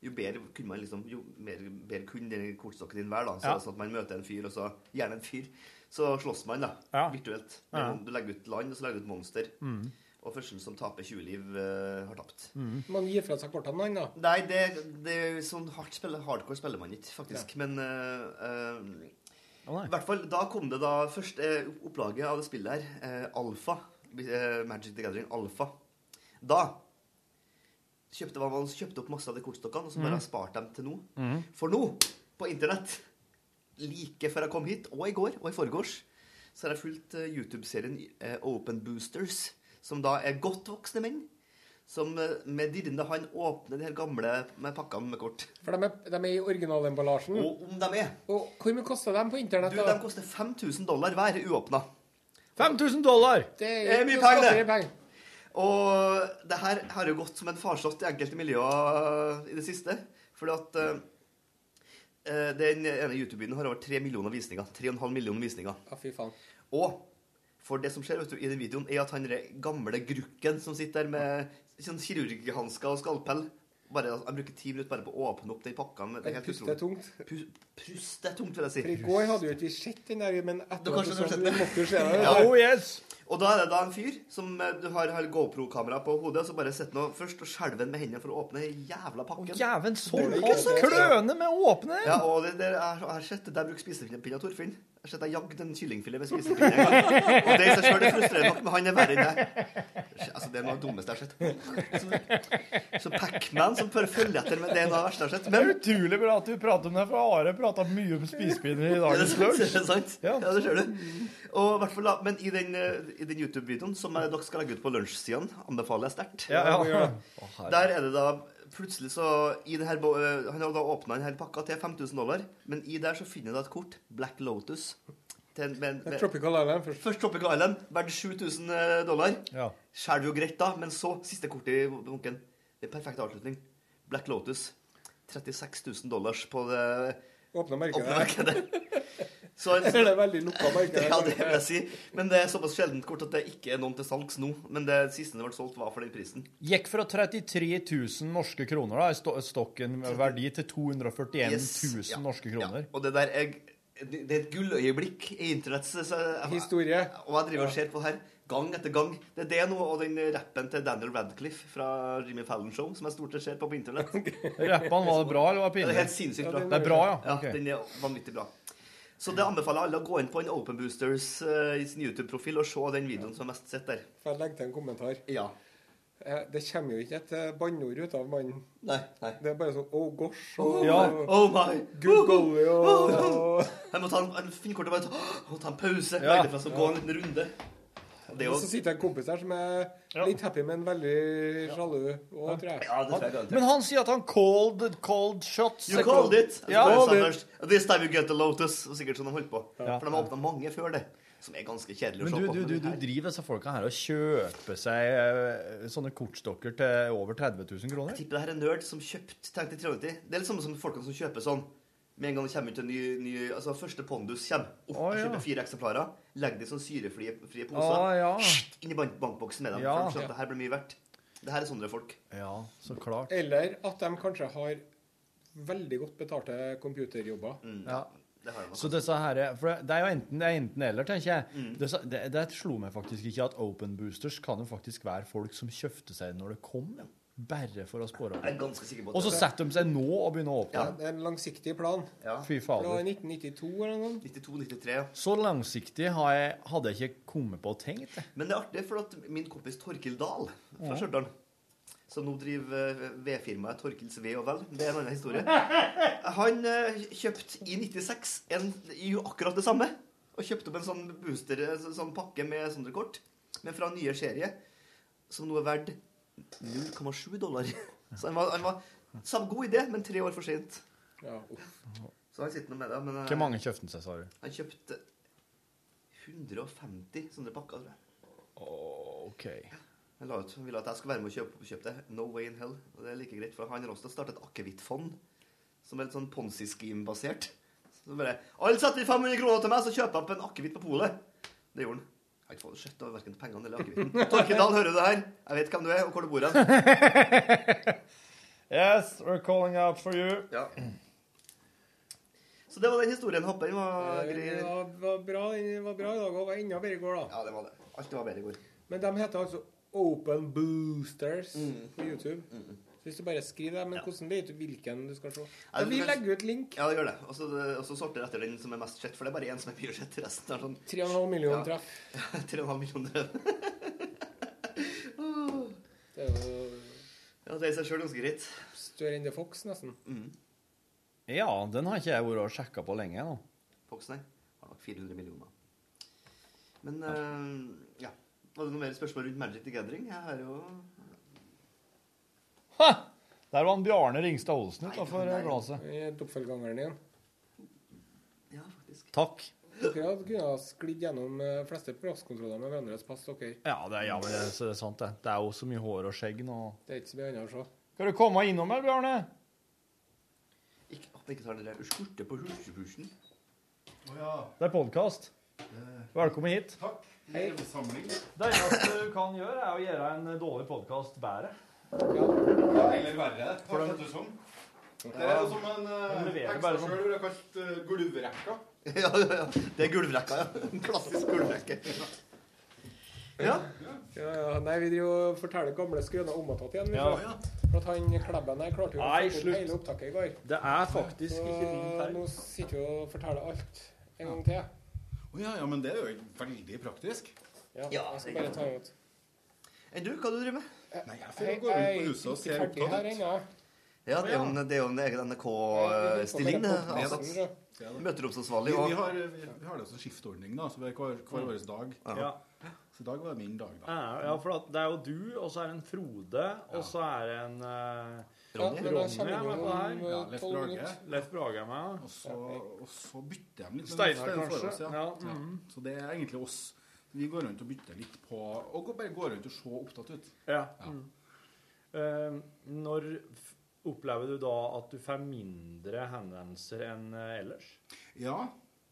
jo bedre kunne man liksom, jo mer, bedre kunne den kortstokken din være. da. Så, Ja. Sånn at man møter en fyr, og så gjerne en fyr, så slåss man da, virtuelt. Ja. Du legger ut land, og så legger du ut monster. Mm. Og førsten som taper 20 liv, eh, har tapt. Man gir fra seg kortene, man, da. Nei, det, det er jo sånn hardt spille, hardcore spiller man ikke, faktisk. Men eh, eh, i hvert fall, da kom det da første eh, opplaget av det spillet her, eh, Alpha, eh, Magic the Gathering Alpha. Da kjøpte man kjøpte opp masse av de kortstokkene, og så Mhm. bare har jeg spart dem til nå. Mhm. For nå, på internett, like før jeg kom hit, og i går, og i forgårs, så har jeg fulgt eh, YouTube-serien eh, Open Boosters, som da er godt voksne menn, som eh, med dirrende hand åpner de her gamle med pakkene med kort. For de er, de er i originalemballasjen. Mm. Og om de er. Og hvor mye koster de på internett? Du, da? de koster 5000 dollar hver uåpna. 5000 dollar! Det Det er mye penger, det. Og det her har jo gått som en farsott i enkelte miljøer i det siste. Fordi at eh, eh, den ene YouTube-videoen har over 3 millioner visninger. 3,5 millioner visninger. Ja, fy faen. Og for det som skjer vet du, i den videoen, er at han der gamle grukken som sitter der med sånn kirurghansker og skalpell bare, altså, Han bruker ti minutter bare på å åpne opp den pakka. med- Det er helt Pust utrolig. er tungt. Pust er tungt, vil jeg si. For i går hadde jo ikke vi sett den der, men Du etter kanskje du har sett det? måtte jo se det. Ja. Oh, da. Og da er det da en fyr som eh, du har, har GoPro-kamera på hodet, og så bare setter han først og skjelver han med hendene for å åpne den jævla pakken. Jæven, så Bruker hardt. sånn. kløne med å åpne! Ja, og det, det er, jeg har sett det der bruker spisepinner, Torfinn. Jeg har sett deg jagd en kyllingfilet med spisepinner en gang. Og det i seg sjøl er frustrerende nok, men han er verre enn deg. Altså, det er noe av det dummeste jeg har sett. Så, så Pacman som bare følger etter med det er noe av det verste jeg har sett. Det er utrolig bra at du prater om det, for Are prata mye om spisepinner i dagens Ja, det lunsj. er sant. Ja, det ser du. Og i hvert fall, da, men i den, eh, i den YouTube-videoen som eh, dere skal legge ut på lunsjsidene, anbefaler jeg sterkt. Ja, ja. Ja, ja. Å, herre. Der er det da plutselig så i det her, bo- eh, Han har da åpna denne pakka til 5000 dollar, men i der så finner jeg da et kort, Black Lotus, til til en med, Det er Tropical Island først. Tropical Island, verdt 7000 eh, dollar. Ja. Skjærer jo greit, da, men så siste kortet i bunken. Det er perfekt avslutning. Black Lotus. 36 000 dollars på det Åpne markedet. åpne markedet. Så en- Det er det veldig lukka markedet. Ja, det vil jeg si. Men det er såpass sjeldent kort at det ikke er noen til salgs nå. Men det siste det ble solgt, var for den prisen. Gikk fra 33 000 norske kroner da, i sto- stokken verdi til 241 Yes, 000 ja, norske kroner. Og det der er, det er et gulløyeblikk i internetts så- Historie. Og jeg driver og ser på her gang etter gang. Det er det nå, og den rappen til Daniel Radcliffe fra Jimmy Fallon Show, som jeg stort sett ser på på internett. Rappene, var det bra, eller var det pinlig? Ja, Det er helt sinnssykt Ja, bra. den er- Det er bra, ja. Ok. den er vanvittig bra. Så det anbefaler alle å gå inn på en Open Boosters eh, i sin YouTube-profil og se den videoen som er mest sett der. Får jeg legge til en kommentar? Ja. Det kommer jo ikke et eh, banneord ut av mannen. Nei, nei. Det er bare sånn oh gosh Oh, og my. oh my! good golly og Jeg må ta en, en finnkort og bare ta, å, ta en pause. Ja. Legge det fra seg og gå en liten runde. Det er Og så jo sitter det en kompis her som er litt happy, men veldig sjalu òg, tror jeg. Ja, det tror jeg garantert. Men han sier at han called the cold shots. You called it! Ja. Altså, det er standard. This time you get the lotus. Og sikkert sånn de holdt på. Ja. For de har åpna mange før det, som er ganske kjedelig Men å se du, på. du, du, Men du her- driver disse folka her og kjøper seg eh, sånne kortstokker til over 30 000 kroner? Jeg tipper det her er en nerd som kjøpt tenkte i 380. Det er litt samme som folkene som kjøper sånn. Med en gang det kommer ut en ny, ny Altså, første pondus kommer. Opp, Å, ja. Kjøper fire eksemplarer. Legger det i sånn syrefrie frie poser. Å, Ah, ja. Sht, Inn i bank bankboksen med dem. Ja. For de skjønner at det her blir mye verdt. Det her er sånne folk. Ja, så klart. Eller at de kanskje har veldig godt betalte computerjobber. Mm. Ja. Det har de nok. Så disse her, for det- det er jo enten, det er enten eller, tenker jeg. Disse, det, det slo meg faktisk ikke at open boosters kan jo faktisk være folk som kjøpte seg når det kom. ja. Bare for å spore Jeg er ganske sikker på at Og så det er det. setter de seg nå og begynner å åpne. Ja, det er en langsiktig plan. Fy fader. Det var 1992 eller noe. 92-93, ja. Så langsiktig har jeg, hadde jeg ikke kommet på å tenke. Men det er artig, for at min kompis Torkil Dahl fra Ja. Stjørdal, som nå driver eh, vedfirmaet Torkils Ved og Vel, det er en annen historie, han eh, kjøpte i 96 en, jo akkurat det samme. Og kjøpte opp en sånn booster, eh, så- sånn pakke med sånne kort, men fra nye serie, som nå er verdt 0,7 dollar. Så han var, han var samme god idé, men tre år for sent. Så han sitter nå med det. Men, eh, Hvor mange kjøpte han seg, sa du? Han kjøpte 150 sånne pakker, tror jeg. OK. Han la ut, han ville at jeg skulle være med og kjøpe, kjøpe det. No way in hell. Og det er like greit, for han har også startet et akevittfond, som er litt sånn Ponzi-scheme-basert. Så bare, Alle setter 500 kroner til meg, så kjøper jeg opp en akevitt på polet. Det gjorde han. Jeg har ikke fått sett over hverken pengene eller akevitten. Torkedal, hører du det her? Jeg vet hvem du er, og hvor du bor hen. Yes, we're calling out for you. Ja. Så det var den historien. Håper den var grei. Det var, var bra, det var bra i dag og var enda bedre i går, da. Ja, det var det. Alt var bedre i går. Men de heter altså Open Boosters Mm. på YouTube. Så hvis du bare skriver det, men hvordan vet du hvilken du skal se? Ja, Ja, du vi kan- legger ut link. Ja, det gjør det. Og så eh, og så sorter jeg etter den som er mest sett, for det er bare én som er mye sett. Resten er sånn 3,5 millioner Ja. treff. 3,5 millioner treff. Det er jo Ja, det er i seg sjøl ganske greit. større enn The Fox, nesten. Ja, den har ikke jeg vært og sjekka på lenge nå. Fox, nei. Har nok 400 millioner. Men eh, ja. Var det noe mer spørsmål rundt Magic the Gathering? Jeg har jo Der var han Bjarne Ringstad Olsen utafor nei. glasset. Eh, Doppelgangeren igjen. Takk. Dere hadde kunnet ha sklidd gjennom eh, fleste passkontroller med hverandres pass, dere. Ja, det er, ja, men det, er- det er sant, det. Det er jo så mye hår og skjegg nå. Det er ikke så mye annet å se. Skal du komme innom her, Bjarne? Ikke, at jeg ikke tar den der skurte på hurtigpushen. Det er podkast. Velkommen hit. Takk. Hei. Det eneste du kan gjøre, er å gjøre en dårlig podkast bedre. Ja, eller verre. Hva For heter det som? Ja. Det er som en Den uh, leverer ekstra bare sånn. sjøl ville kalt uh, gulvrekka. ja, ja, ja. Det er gulvrekka, ja. En klassisk gulvrekke. Ja. Ja, ja. Nei, vi driver og forteller gamle skrøner om og tatt igjen. vi, Ja. for- For at han Klebben her klarte jo Nei, å få slutt. opp hele opptaket i går. Det er faktisk Så ikke fint her. Nå sitter vi og forteller alt en gang til. Å ja, ja, men det er jo veldig praktisk. Ja, jeg skal bare ta ut. Enn Eh, du, hva du driver med? Nei, jeg Hei, får gå rundt hei, på huset og se ikke ferdig her opptatt. ennå. Ja, det er jo en, det er jo en egen NRK-stilling. det. Ja, da. eh, Altså, møteromsansvarlig Vi, vi, og har, vi har det som skiftordning, da, så vi er hver, hver vår dag. Ja. Så i dag var det min dag, da. Ja, ja, for at det er jo du, og så er det en Frode, og så er det en eh, Ja, men da Ronny kommer er vi med på om, her. eh, Leif tolv Brage. minutter. Leif Brage er med, Og så, og så bytter de litt. Steinar, Stein kanskje? Forhås, Ja. Ja, Ja. mhm. Så det er egentlig oss. Vi går rundt og bytter litt på Og går- bare går rundt og ser opptatt ut. ja. Mm. Eh, når f- opplever du da at du får mindre henvendelser enn eh, ellers? Ja,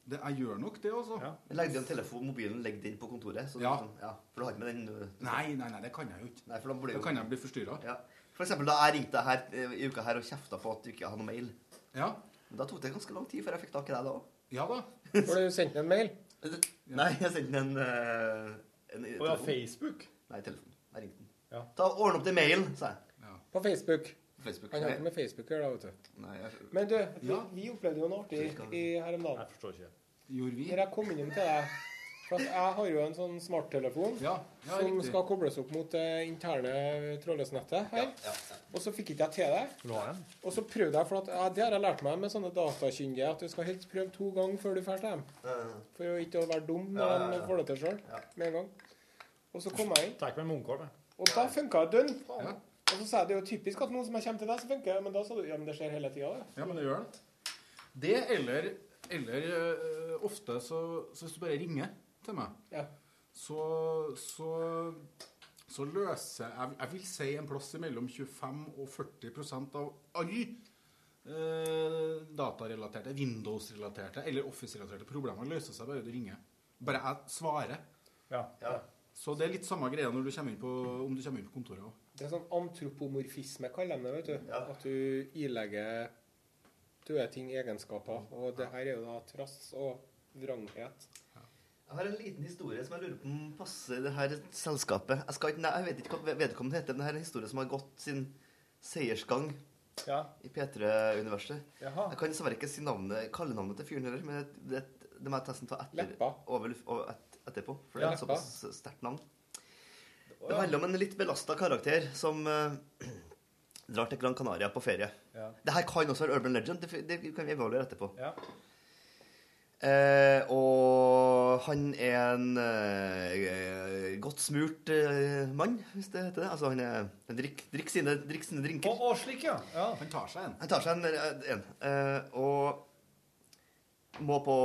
det, jeg gjør nok det, altså. Legg den telefonen, mobilen, legg den på kontoret. Så du Ja. liksom, ja. For du har ikke med den øh, Nei, nei, nei, det kan jeg jo ikke. Nei, for da blir Da jo- kan jeg bli forstyrra. Ja. For eksempel da jeg ringte her eh, i uka her og kjefta på at du ikke hadde noe mail. Ja. Men da tok det ganske lang tid før jeg fikk tak i deg da òg. Ja da. Var det du sendte en mail? Nei, jeg sendte en, eh, en Å ja, Facebook? Nei, telefon. Jeg ringte den. Ja. Ta Ordne opp til mail, sa jeg. På Facebook. Facebook. Han har Nei. ikke med Facebook å gjøre, da, vet du. Nei, jeg... Men du, vi, Ja. vi opplevde jo noe artig i, her om dagen. Jeg forstår ikke. Gjorde vi? Når jeg kom innom til deg For at jeg har jo en sånn smarttelefon ja, som riktig. skal kobles opp mot det interne trådløsnettet her. Og så fikk ikke jeg til det. Vil du ha en? Og så prøvde jeg, for at, ja, det har jeg lært meg med sånne datakyndige, at du skal helst prøve to ganger før du drar til dem. Eh, For å ikke å være dum når Ja, ja, ja. de får det til sjøl med en gang. Og så kom jeg inn. Tar ikke med munkholm, jeg. Og da funka det dønn. Og så sa jeg det er jo typisk at noen som jeg kommer til deg, så funker det. Men da sa du ja, men det skjer hele tida, det. Ja, men det gjør det. Det eller, eller eh, ofte så, så hvis du bare ringer til meg, så, så, så løser jeg Jeg vil si en plass mellom 25 og 40 av alle eh, datarelaterte, Windows-relaterte eller Office-relaterte problemer løser seg bare du ringer. Bare jeg svarer. Så det er litt samme greia når du kommer inn på, om du kommer inn på kontoret òg. Det er sånn antropomorfisme, kaller de det. vet du. At du ilegger døde ting egenskaper. Og det her er jo da trass og vranghet. Jeg har en liten historie som jeg lurer på om passer det her selskapet. Jeg, skal ikke, nei, jeg vet ikke hva vedkommende heter, men det her er en historie som har gått sin seiersgang Ja. i P3-universet. Jaha. Jeg kan dessverre ikke si navnet, kallenavnet til fyren heller, men det, det, det må jeg nesten ta etter, over, luft- over, et, etterpå, for det Ja, er et Leppa. såpass sterkt navn. Det handler om en litt belasta karakter som eh, drar til Gran Canaria på ferie. Ja. Det her kan også være urban legend. Det, det kan vi evaluere etterpå. Ja. Eh, og han er en eh, godt smurt eh, mann, hvis det heter det. Altså, han er han drikker drikk sine, drikk sine drinker. Og, slik, ja. Han tar seg en. Han tar seg en. eh, en eh, og må på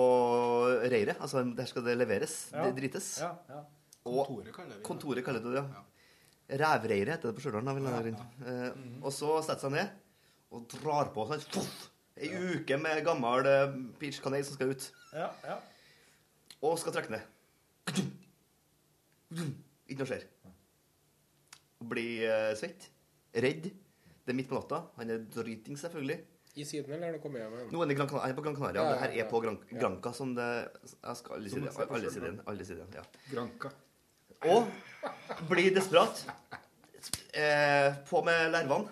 reiret. Altså, der skal det leveres. Ja. Det drites. Ja, ja. Og- Kontoret kaller vi det. Kontoret kaller det, det, ja. Rævreiret heter det på Stjørdal. da, vel, der inne. Eh, Mhm. Og så setter seg ned og drar på seg Fuff! ei uke med gammel uh, peach canay som skal ut. Ja, ja. Og skal trekke ned. Ikke noe skjer. Blir eh, svett. Redd. Det er midt på natta. Han er driting, selvfølgelig. I Syden, eller har du kommet hjem igjen? Nå er det Gran Canaria, jeg er på Gran Canaria. Ja, ja, det her ja. er på Gran Ja. Granca, som det jeg skal, Alle Som sider man ser på alle selv, sider, da. alle sider, ja. Granka. Og blir desperat. Eh, på med larvene.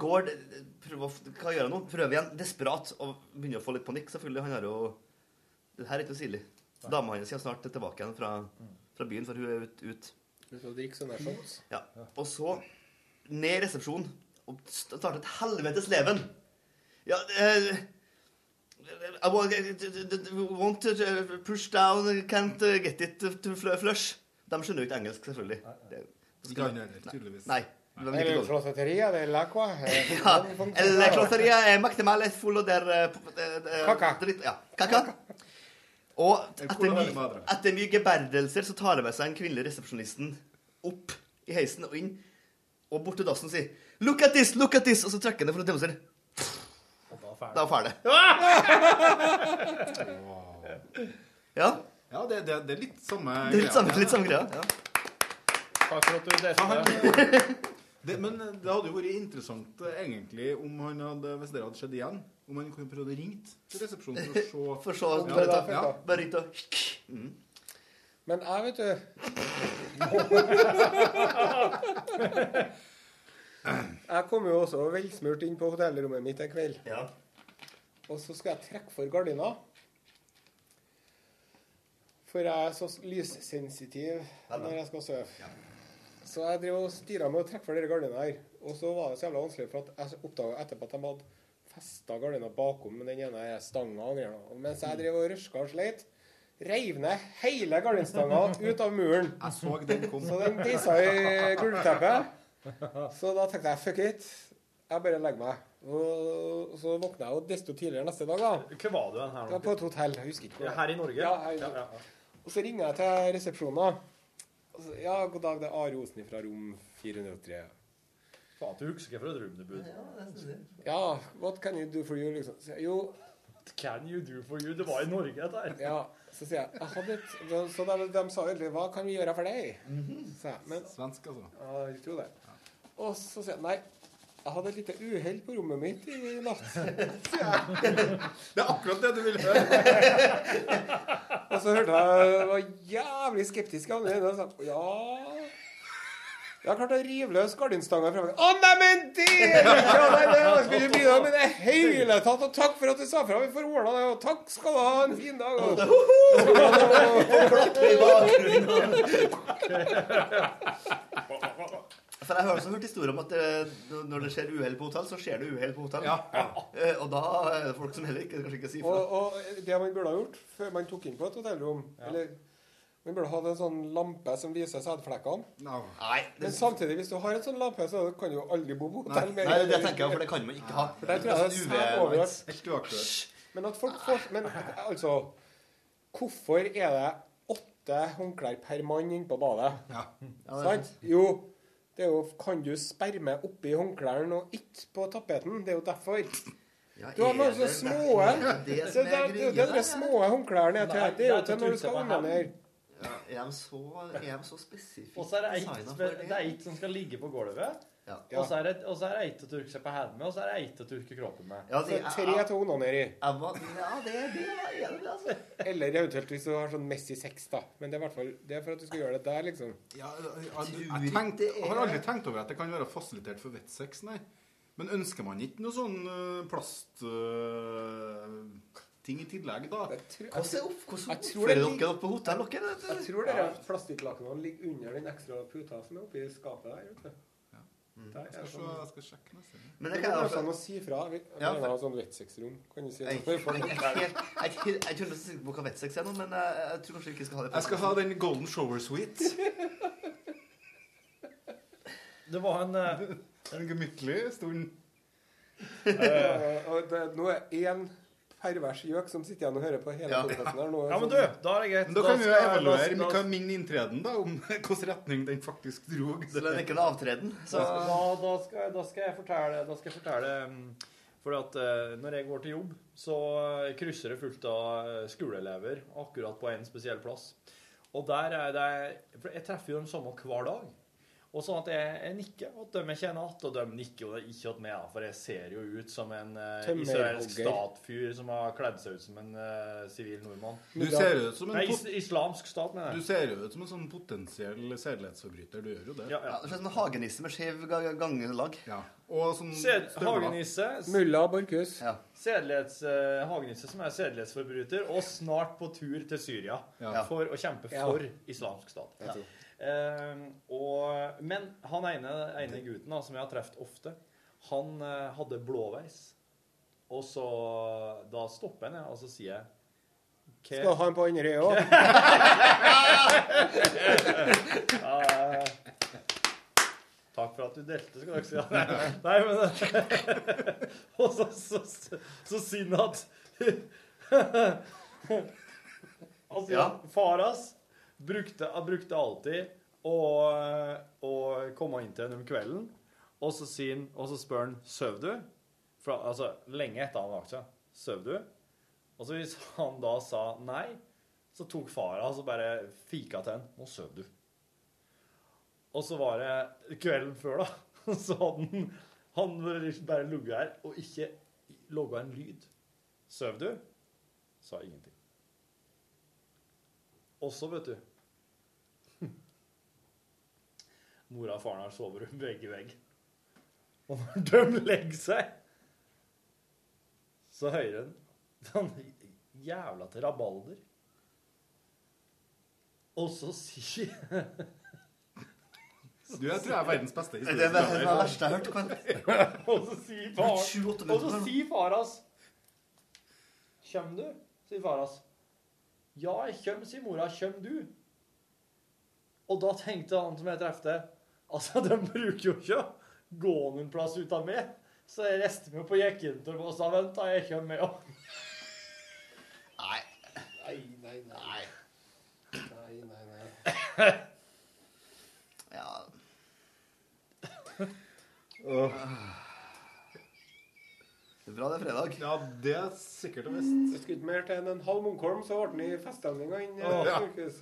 Går det- prøver, å f- Hva gjør jeg nå? Prøver igjen. Desperat. Og begynner å få litt panikk, selvfølgelig. Han har jo Det her er ikke noe sirlig. Dama hans kommer snart tilbake igjen fra, Mm. fra byen, for hun er ute. Ut. Ut og drikke sånne shots. Ja. Og så ned i resepsjonen og starte et helvetes leven. Ja, eh, I want, want to push down, can't uh, get it to fl- flush. De skjønner jo ikke engelsk, selvfølgelig. Det- det skal- Ikke han heller, tydeligvis. Nei. de vil ikke gå. Eller flåsetteria, det er lacqua. Ja, eller klotteriet er maktemale full av der eh, p- eh, eh, Kaka. Dritt, ja, kaka. Og etter Hvordan er det mye, med dere? etter mye geberdelser så tar det med seg den kvinnelige resepsjonisten opp i heisen og inn, og bort til dassen og sier 'Look at this! Look at this!' Og så trekker han det for å demonstrere. Da er ferdig. Ja. Ja, det, det, det er litt samme Det er litt samme, litt samme greia. Ja. Takk for at du Ja, han- delte. det, men det hadde jo vært interessant eh, egentlig om han hadde, hvis det hadde skjedd igjen, om han kunne prøvd å ringe til resepsjonen for å se For så, Ja, bare, ta, ja. bare ringt og Men jeg, vet du Jeg kom jo også velsmurt inn på hotellrommet mitt en kveld. Og så skal jeg trekke for gardina. For jeg er så s- lyssensitiv når jeg skal sove. Så jeg drev og styra med å trekke for dere gardina her. Og så var det så jævla vanskelig, for at jeg oppdaga etterpå at de hadde festa gardina bakom med den ene stanga og greier. Og Mens jeg drev og røska og sleit, reiv ned hele gardinstanga ut av muren. Jeg så den kom. Så den tissa i gulvteppet. Så da tenkte jeg fuck it, jeg bare legger meg. Og så våkna jeg jo desto tidligere neste dag, da. Hvor var du hen her Det var på et hotell, jeg husker ikke. hvor. Ja, her i Norge? Ja, her i Norge. Og så ringer jeg til resepsjonen. da. Og så, ja, god dag, det er Are Osen fra rom 403. Faen, du husker ikke fra et rom du bodde Ja, what can you do for you, liksom. Så, jeg, jo. What can you do for you? Det var i Norge, dette her. Ja, så sier jeg, jeg hadde et, de, Så de, de sa jo egentlig, hva kan vi gjøre for deg? sa jeg. Men, Mhm. Svensk, altså. Ja, jeg tror det. Og så sier jeg, nei, jeg hadde et lite uheld på rommet mitt i natt. sier jeg. Det er akkurat det du ville og så hørte jeg jeg var jævlig skeptisk. av det, og så sa jeg, Ja Jeg har klart å rive løs gardinstanga fra meg. Å, nei, men det! Ja, nei, det var ikke mye, bidra med i det hele tatt. Og takk for at du sa fra. Vi får ordna det. Og takk skal du ha. En fin dag. altså. Og... For jeg har også hørt historier om at eh, når- når det skjer uhell på hotell, så skjer det uhell på hotell. Eh, Og da er det folk som heller ikke, kanskje ikke sier fra. Og, og det man burde ha gjort før man tok inn på et hotellrom eller man burde hatt en sånn lampe som viser sædflekkene. Men samtidig, hvis du har en sånn lampe, så kan du jo aldri bo på hotell Nei, det er det jeg tenker, for det kan man ikke ha. For der tror jeg det er Sånn sæd UV-lights. overalt. Men at folk får Men altså Hvorfor er det åtte håndklær per mann inne på badet? Ja, det er Sant? Jo, det er jo Kan du sperme oppi håndklærne og ikke på tapeten? Det er jo derfor. du har er masse det små Det derfor? Det er som er der- det er jo der greia der, de små håndklærne er Nei, til. Det er jo det er til når du tute skal på hand. onanere. Ja, er de så, er de så spesifikt Og så er det eit, designet for spe- det er eit som skal ligge på gulvet. Ja. Og så er det og så er det eit å tørke seg på hendene med, og så er det eit å tørke kroppen med. Ja, det er- Så tre til å onanere i. Ja, det er det. jeg er enig i, altså. Eller eventuelt hvis du har sånn Messi 6, da. Men det er, i hvert fall, det er for at du skal gjøre det der, liksom. Ja, jeg, jeg, tenkte, jeg har aldri tenkt over at det kan være fasilitert for vettsex, nei. Men ønsker man ikke noe sånn plastting i tillegg, da? Hvordan opp- hvordan Jeg tror det oppfører ligger- dere dere på hotell? Dere? Jeg tror det er plastikklakenene ligger under den ekstra puta som er oppi skapet der. Vet du. Mm. Der er Jeg skal, se, sånn- jeg skal sjekke neste gang. Men det det kan kan jeg være også- sånn å si fra. Vi vi Ja, har for- ja, sånn vettseksrom, kan du si. Jeg jeg- jeg- jeg- jeg- jeg- jeg- jeg tror nesten ikke på hva vettsex er nå, men jeg, jeg tror kanskje vi ikke skal ha det. Jeg skal ha den Golden Shower Suite. Det var en En gemyttlig stund. Eh, og det, nå er én pervers gjøk som sitter igjen og hører på hele Ja. podkasten her nå. Ja, men Sånn- du, da er det greit. Men da kan vi jo evaluere hva er min inntreden da, om hvilken retning den faktisk dro. Så det er ikke en avtreden, Så da, da, skal, jeg- da skal jeg fortelle, da skal jeg fortelle um, fordi at eh, når jeg går til jobb, så eh, krysser det fullt av eh, skoleelever akkurat på en spesiell plass. Og der er det for Jeg treffer jo dem samme hver dag. Og sånn at jeg, jeg nikker at de jeg kjenner at, og de nikker jo ikke at meg, da, for jeg ser jo ut som en eh, Tømmerhogger. israelsk statfyr som har kledd seg ut som en eh, sivil nordmann. Du ser ut som en Nei, pot- is islamsk stat, mener Du jeg. ser jo ut som en sånn potensiell sedelighetsforbryter. Du gjør jo det. Ja, ja. Ja, det er sånn hagenisse med skjev ga- gangelag. Og sånn Sed- Hagenisse. Mulla Borchhus. Sedelighets, eh, Hagenisse, som er sedelighetsforbryter, og snart på tur til Syria Ja. for å kjempe Ja. for islamsk stat. Jeg tror. Eh, og, men han ene, ene gutten da, som jeg har truffet ofte, han eh, hadde blåveis. Og så Da stopper han, jeg, og så sier jeg «Hva- Skal ha en på andre øyet òg? ja, Takk for at du delte, skal dere si. Nei, nei men Og så, så, så, så sier han at Han sier at Altså, far hans brukte, han brukte alltid å, å komme inn til henne om kvelden, og så, sier han, og så spør han Søv du? For, altså, lenge etter han lagt seg. Søv du? Og så hvis han da sa nei, så tok far hans og bare fika til henne. Nå søv du. Og så var det kvelden før, da. Så hadde han, han liksom bare ligget her og ikke logga en lyd. Søv du? Sa ingenting. Og så, vet du Mora og faren har soverom vegg i vegg. Og når de legger seg, så hører han den jævla til rabalder. Og så sier Du, jeg tror jeg er verdens beste Det er det verste jeg har hørt, Kent. og så sier far Og så sier far hans Kjem du? sier far hans. Ja, jeg kjøm, sier mora. Kjøm du? Og da tenkte han som jeg trefte, altså, de bruker jo ikke å gå noen plass ut av meg. Så jeg reiste meg på Jekkintorp og sa, vent da, jeg kjøm med òg. Nei. Nei, nei, nei. Nei, nei, nei. Ja. Det er bra det er fredag. Ja, det er sikkert og visst. Det skulle ikke mer til enn en halv munnkorm, så ble den i feststemninga inn i Åh. sykehus.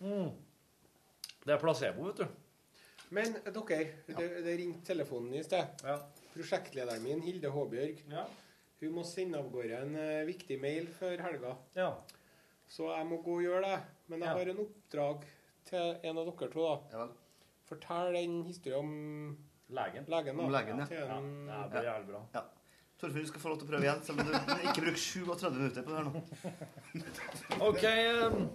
Mm. Det er placebo, vet du. Men eh, dere, det, det ringte telefonen i sted. Prosjektlederen min, Hilde Håbjørg, hun må sende av gårde en eh, viktig mail før helga. Så jeg må gå og gjøre det. Men jeg har en oppdrag til en av dere to. da. Fortell den historien om legen. Mm. da. Om legen, ja. Til en- bra. Ja. Torfinn, du skal få lov til å prøve igjen, selv om du ikke bruker 37 minutter på det her nå. OK.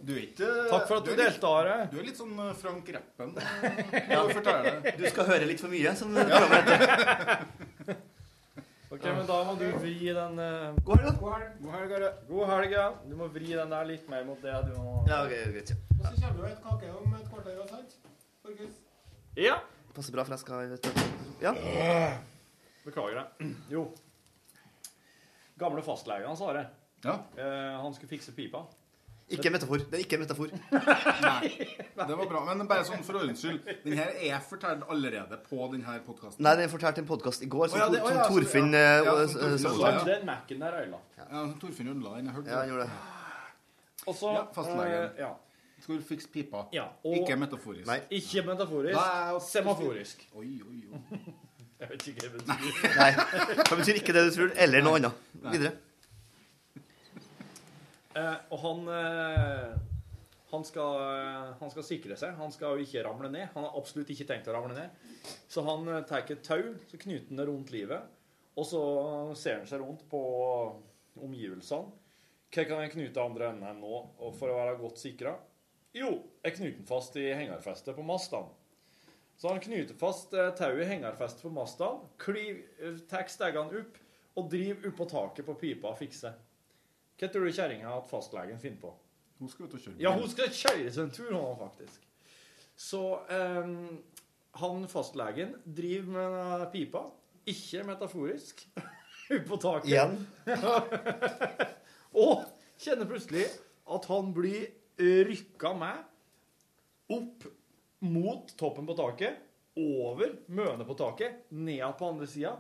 Du er ikke Takk for at du er litt- deltar, jeg. Du er litt sånn eh, Frank Reppen. Ja. Du forteller det. Du skal høre litt for mye, som Ja. programmet heter. Ok, men da må du vri den eh, God helg, God helg, Are. God helg, ja. Du må vri den der litt mer mot det du må Ja, ok, greit. ja. Og så kommer det jo et kake om et kvarter, og sant? Borges? Ja. Passer bra, for jeg skal vet du. Ja. Beklager det. Jo. Gamle fastlegen hans, Are. Ja. Eh, han skulle fikse pipa. Ikke en metafor. Det er ikke en metafor. Det var bra. Men bare sånn for ordens skyld, den her er fortalt allerede på denne podkasten. Nei, den fortalte en podkast i går som, Å, ja, det- Tor- å, som ja, så- Torfinn ja. eh, Ja, som og- eh, Torfinn samtalte. ødela, ja. Den Mac-en der ødela. Ja, Torfinn ødela den. Jeg hørte Ja, han gjorde det. Og så Ja, fastlegen. eh, ja. Skal du fikse pipa? Ja, Ikke metaforisk. Ikke metaforisk. Nei, og- semaforisk. Oi, oi, oi. Jeg vet ikke hva det betyr. Nei, det betyr ikke det du tror, eller noe annet. Nei. Videre. Eh, og han eh, han, skal, eh, han skal sikre seg. Han skal jo ikke ramle ned. Han har absolutt ikke tenkt å ramle ned. Så han eh, tar et tau, så knyter han det rundt livet. Og så ser han seg rundt på omgivelsene. Hva kan jeg knute andre enden her nå og for å være godt sikra? Jo, jeg knyter den fast i hengerfestet på mastene. Så han knyter fast eh, tauet i hengerfestet på mastene, kliv- eh, tar stegene opp og driver oppå taket på pipa og fikser. Hva tror du kjerringa at fastlegen finner på? Hun skal ut og kjøre. Ja, hun skal kjøre seg en tur, hun faktisk. Så ehm, han fastlegen driver med denne pipa, ikke metaforisk, på taket. og kjenner plutselig at han blir rykka med opp mot toppen på taket, over mønet på taket, ned på andre sida,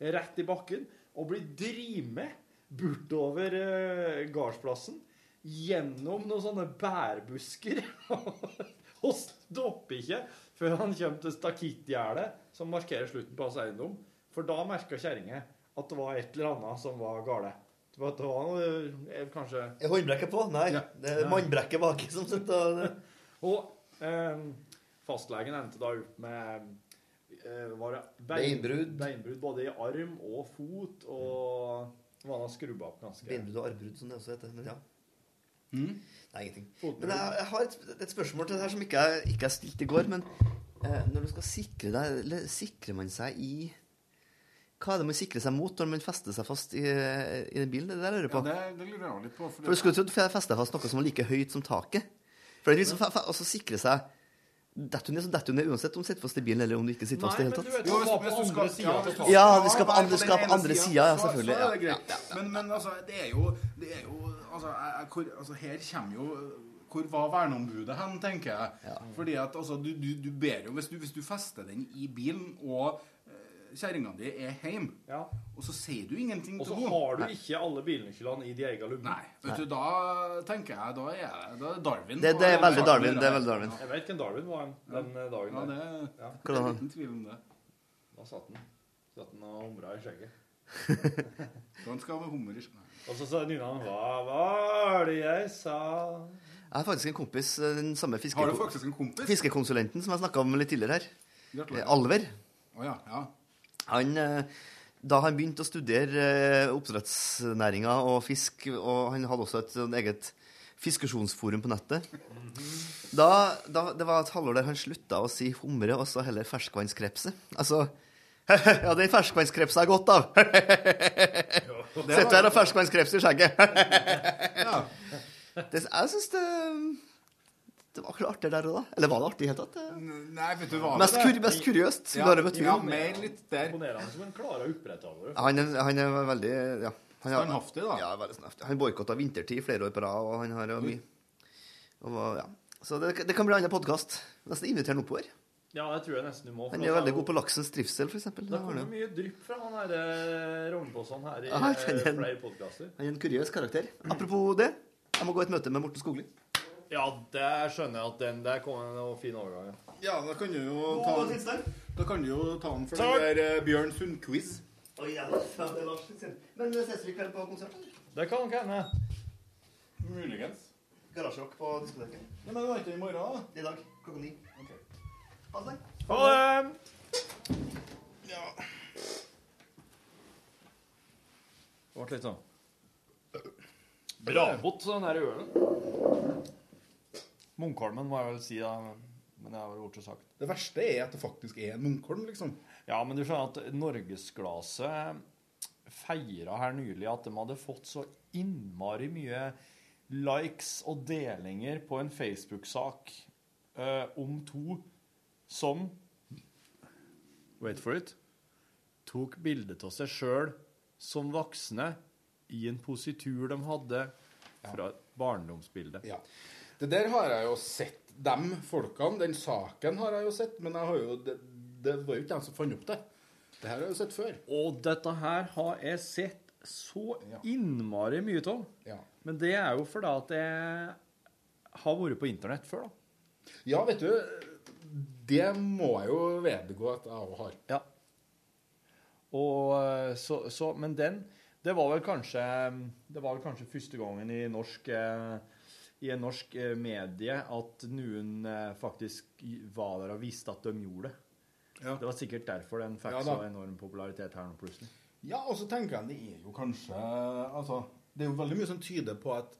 rett i bakken, og blir drimet bortover eh, gardsplassen, gjennom noen sånne bærbusker, og stopper ikke før han kommer til stakittgjerdet, som markerer slutten på hans eiendom. For da merka kjerringa at det var et eller annet som var gale. Det var, det var noe, eh, kanskje Er håndbrekket på? Nei. Det er Nei. mannbrekket baki som sitter og Og ehm, fastlegen endte da opp med eh, var det Beinbrudd. Beinbrudd både i arm og fot, og var da skrubba opp ganske Beinbrudd og armbrudd, som det også heter. Men ja. Mm. Nei, ingenting. Men jeg, jeg har et, et spørsmål til det her som ikke er, ikke er stilt i går. Men eh, når du skal sikre deg eller Sikrer man seg i Hva er det man sikrer seg mot når man fester seg fast i, i en bil? Det er det jeg lurer Ja, på. det, det lurer jeg også litt på. for For det- du skulle trodd jeg festa fast noe som var like høyt som taket. For det er liksom, og så sikre seg Detter du ned, så detter du ned uansett om du sitter fast i bilen eller om du ikke sitter fast i det hele tatt. Jo, hvis- hvis du skal- ja, hvis du skal- Ja, ja, vi skal på være andre, den skal på ene andre siden, sida, ja, så- selvfølgelig. Så er det Ja, greit. Men, men altså, det er jo, det er jo altså, jeg, jeg, hvor, altså, Her kommer jo Hvor var verneombudet hen, tenker jeg. Fordi at altså, du, du, du ber jo hvis du, hvis du fester den i bilen, og eh, kjerringa di er hjemme, og så sier du ingenting Og så til har du ikke alle bilnøklene i de egen lommene. Vet du, Da tenker jeg Da er det- da er det Darwin. Det- det er veldig Darwin, det er veldig Darwin. Jeg vet hvem Darwin var den, den eh, dagen. Ja, der. det Ja. det er liten tvil om det. Da satt den. Satt den og humra i skjegget. Han skal ha med hummer i skjegget. Og så sa Nina Hva var det jeg sa? Jeg har faktisk en kompis, eh, den samme fiske... Har du faktisk en kompis? fiskekonsulenten som jeg snakka om litt tidligere her. Gratulerer. Eh, Alver. Å ja, ja. Han, eh, da han begynte å studere eh, oppdrettsnæringa og fisk, og han hadde også et sånn eget fiskesjonsforum på nettet da, da, Det var et halvår der han slutta å si humre og så heller ferskvannskrepse. Altså Ja, den ferskvannskrepsen er godt av. var- Sitter her og ferskvannskreps i skjegget. Det, jeg syns det Det var akkurat artig der og da. Eller var det artig i det hele tatt? Nei, vet du hva Mest det- kur- mest kuriøst som ja, du har møtt fyren. Ja, mer litt der. Imponerende som han klarer å opprettholde det. Han er, han er veldig ja. Han er- Standhaftig, da. Mm. Ja, veldig standhaftig. Han boikotta vintertid i flere år på rad, og han har jo mye og, var- ja. Så det, det kan bli annen podkast. Nesten inviter han oppover. Ja, det tror jeg nesten du må. for Han at er det veldig jo- god på laksens trivsel, f.eks. Det har kommet mye drypp fra han her eh, Rognbossan her i Ja, jeg kjenner eh, den. flere podkaster. Han er en kuriøs karakter. Mm. Apropos det, jeg må gå et møte med Morten Skogli. Ja, det skjønner jeg at den der kom en og fin overgang. ja. Ja, da kan du Nå jo ta var den, da kan du jo ta den for Takk. den der eh, Bjørn Sund-quiz. Men eh, ses vi i kveld på konsert? Det kan nok hende. Muligens. Garasjerock på diskoteket. Ja, men det var ikke i morgen, da? I dag klokka ni. Ha det. Ha det! Det ble litt sånn Brabot, den der ølen. Munkholmen må jeg vel si, da. men- Men jeg har vel bortsett sagt. Det verste er at det faktisk er en Munkholm, liksom. Ja, men du skjønner at Norgesglaset feira her nylig at de hadde fått så innmari mye likes og delinger på en Facebook-sak eh, om to som Wait for it. Tok bilde av seg sjøl som voksne i en positur de hadde fra et barndomsbilde. Ja. Det der har jeg jo sett. Dem folkene, den saken har jeg jo sett, men jeg har jo, det, det var jo ikke dem som fant opp det. Det her har jeg jo sett før. Og dette her har jeg sett så innmari mye av. Men det er jo fordi at jeg har vært på internett før, da. Ja, vet du, det må jeg jo vedgå at jeg også har. Ja. Og eh, så, så Men den Det var vel kanskje Det var vel kanskje første gangen i norsk eh, i en norsk eh, medie at noen eh, faktisk var der og visste at de gjorde det. Det var sikkert derfor den fikk Ja, da. så enorm popularitet her nå plutselig. Ja, og så tenker jeg det er jo kanskje Altså, det er jo veldig mye som tyder på at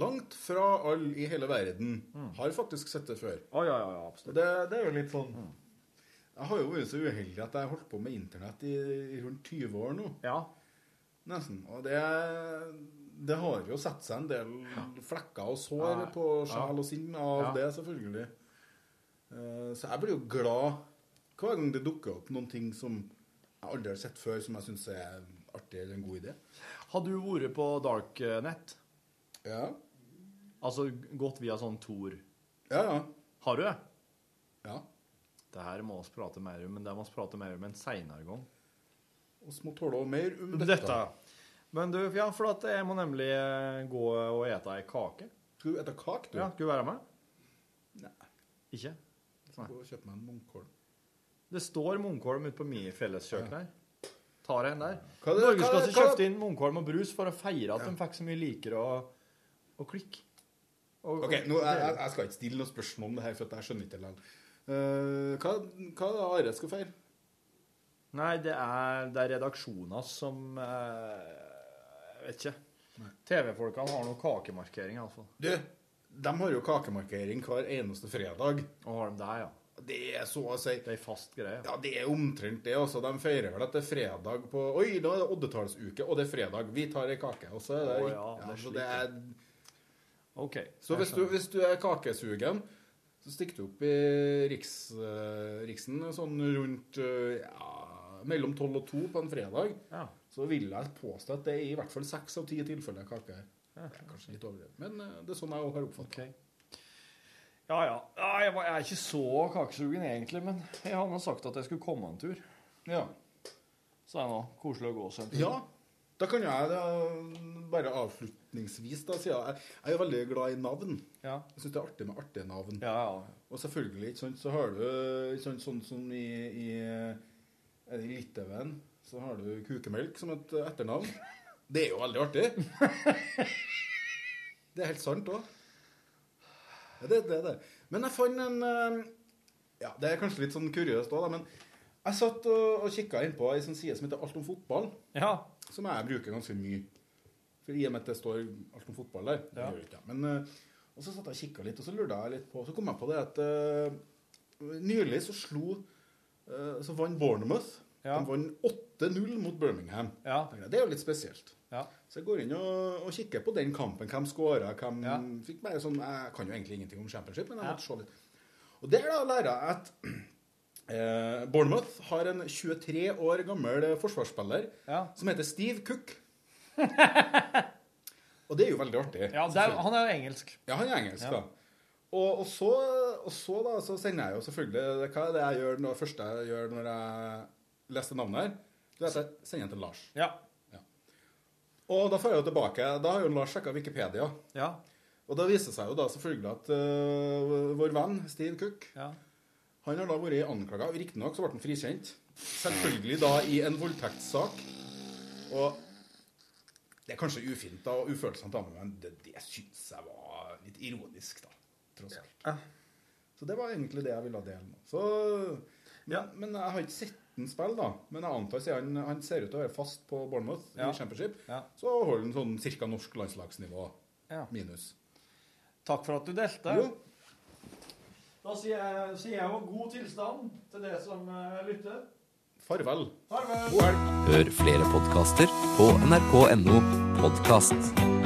langt fra alle i hele verden har faktisk sett det før. Å, ja, ja, ja, absolutt. Det, det er jo litt sånn Jeg har jo vært så uheldig at jeg har holdt på med internett i, i rundt 20 år nå. Ja. Nesten. Og det, det har jo satt seg en del flekker og sår Ja. på sjel og sinn av Ja. det, selvfølgelig. Eh, Så jeg blir jo glad hver gang det dukker opp noen ting som jeg aldri har sett før, som jeg syns er artig eller en god idé. Har du vært på darknet? Ja. Altså gått via sånn Tor? Ja, ja. Har du det? Ja. Det her må vi prate mer om, men det må vi prate mer om en seinere gang. Og så må tåle mer om Dette. dette. Men du, ja, for at jeg må nemlig eh, gå og ete ei kake. Skal du ete kake, du? Ja, skal du være med? Nei. Ikke? Jeg skal gå og kjøpe meg en munkholm. Det står Munkholm ute på min felleskjøkken her. Tar jeg en der. Hva er det- Norge hva skal er det- altså hva er kjøpte inn Munkholm og brus for å feire at de fikk så mye liker og, og klikk. Og- Ok, nå, jeg, jeg- og- jeg skal ikke stille noe spørsmål om det her, for at jeg skjønner ikke det likevel. Eh, hva, hva er det Are skal feire? Nei, det er, det er redaksjoner som eh, Jeg vet ikke. TV-folkene har noe kakemarkering, iallfall. Du, de har jo kakemarkering hver eneste fredag. Og har de der, ja. Det er så å si. Det er fast greie. Ja, det er omtrent det. altså. De feirer vel at det er fredag på Oi, nå er det oddetallsuke, og det er fredag. Vi tar ei kake. Og så er det, Å ja, det er så det er OK. Så jeg hvis du, skjønner. hvis du er kakesugen, så stikker du opp i riks, eh, Riksen sånn rundt eh, ja, mellom tolv og to på en fredag. Så vil jeg påstå at det er i hvert fall seks av ti tilfeller kake her. Det er Kanskje litt overdrevet, men eh, det er sånn jeg også har oppfatta Ja, ja. Ja, Jeg, var, jeg er ikke så kakesugen egentlig, men jeg hadde nå sagt at jeg skulle komme en tur. Ja. Så er det nå koselig å gå seg en tur. Ja. Da kan jeg da, bare avslutningsvis da, si at jeg, jeg er veldig glad i navn. Jeg syns det er artig med artige navn. Og selvfølgelig, ikke sant, så har du ikke sant, sånn som i, i er det i Litauen så har du kukemelk som et eh, etternavn. Det er jo veldig artig. Det er helt sant òg. Ja, det, det, det. Men jeg fant en eh, Ja, det er kanskje litt sånn kuriøst òg, men jeg satt og, og kikka innpå ei sånn side som heter Alt om fotball, som jeg bruker ganske mye. For I og med at det står alt om fotball der. Det Ja. gjør det ikke, men, eh, og så satt jeg og kikka litt, og så lurte jeg litt på Så kom jeg på det at eh, nylig så slo eh, Så vant Bournemouth Ja. De vant 8-0 mot Birmingham. Tenkte jeg, Det er jo litt spesielt. Så jeg går inn og, og kikker på den kampen. Hvem skåra, hvem fikk bare sånn Jeg kan jo egentlig ingenting om championship, men jeg måtte se litt. Og der da lærer jeg at eh, Bournemouth har en 23 år gammel eh, forsvarsspiller som heter Steve Cook. og det er jo veldig artig. Ja, det er, han er jo engelsk. Ja, han er engelsk, Ja. da. Og, og, så, og så da, så sender jeg jo selvfølgelig Hva er det jeg gjør når, første jeg gjør når jeg leste navnet her? Du vet, jeg sender den til Lars. Ja. Og da får jeg jo tilbake Da har jo Lars sjekka Wikipedia. Ja. Og da viser det seg jo da selvfølgelig at øh, vår venn Steve Cook Han har da vært anklaga. Riktignok så ble han frikjent. Selvfølgelig da i en voldtektssak. Og det er kanskje ufint da, og ufølsomt, da, men det, det syns jeg var litt ironisk, da. Tross alt. Så det var egentlig det jeg ville dele nå. Så, men, men jeg har ikke sett den spille, da. Men jeg antar siden han, han ser ut til å være fast på Bournemouth Ja. i Championship, Ja. så holder han sånn cirka norsk landslagsnivå Ja. minus. Takk for at du delte. Jo. Da sier jeg, sier jeg jo god tilstand til det som eh, lytter. Farvel. Farvel. Hør flere podkaster på nrk.no podkast.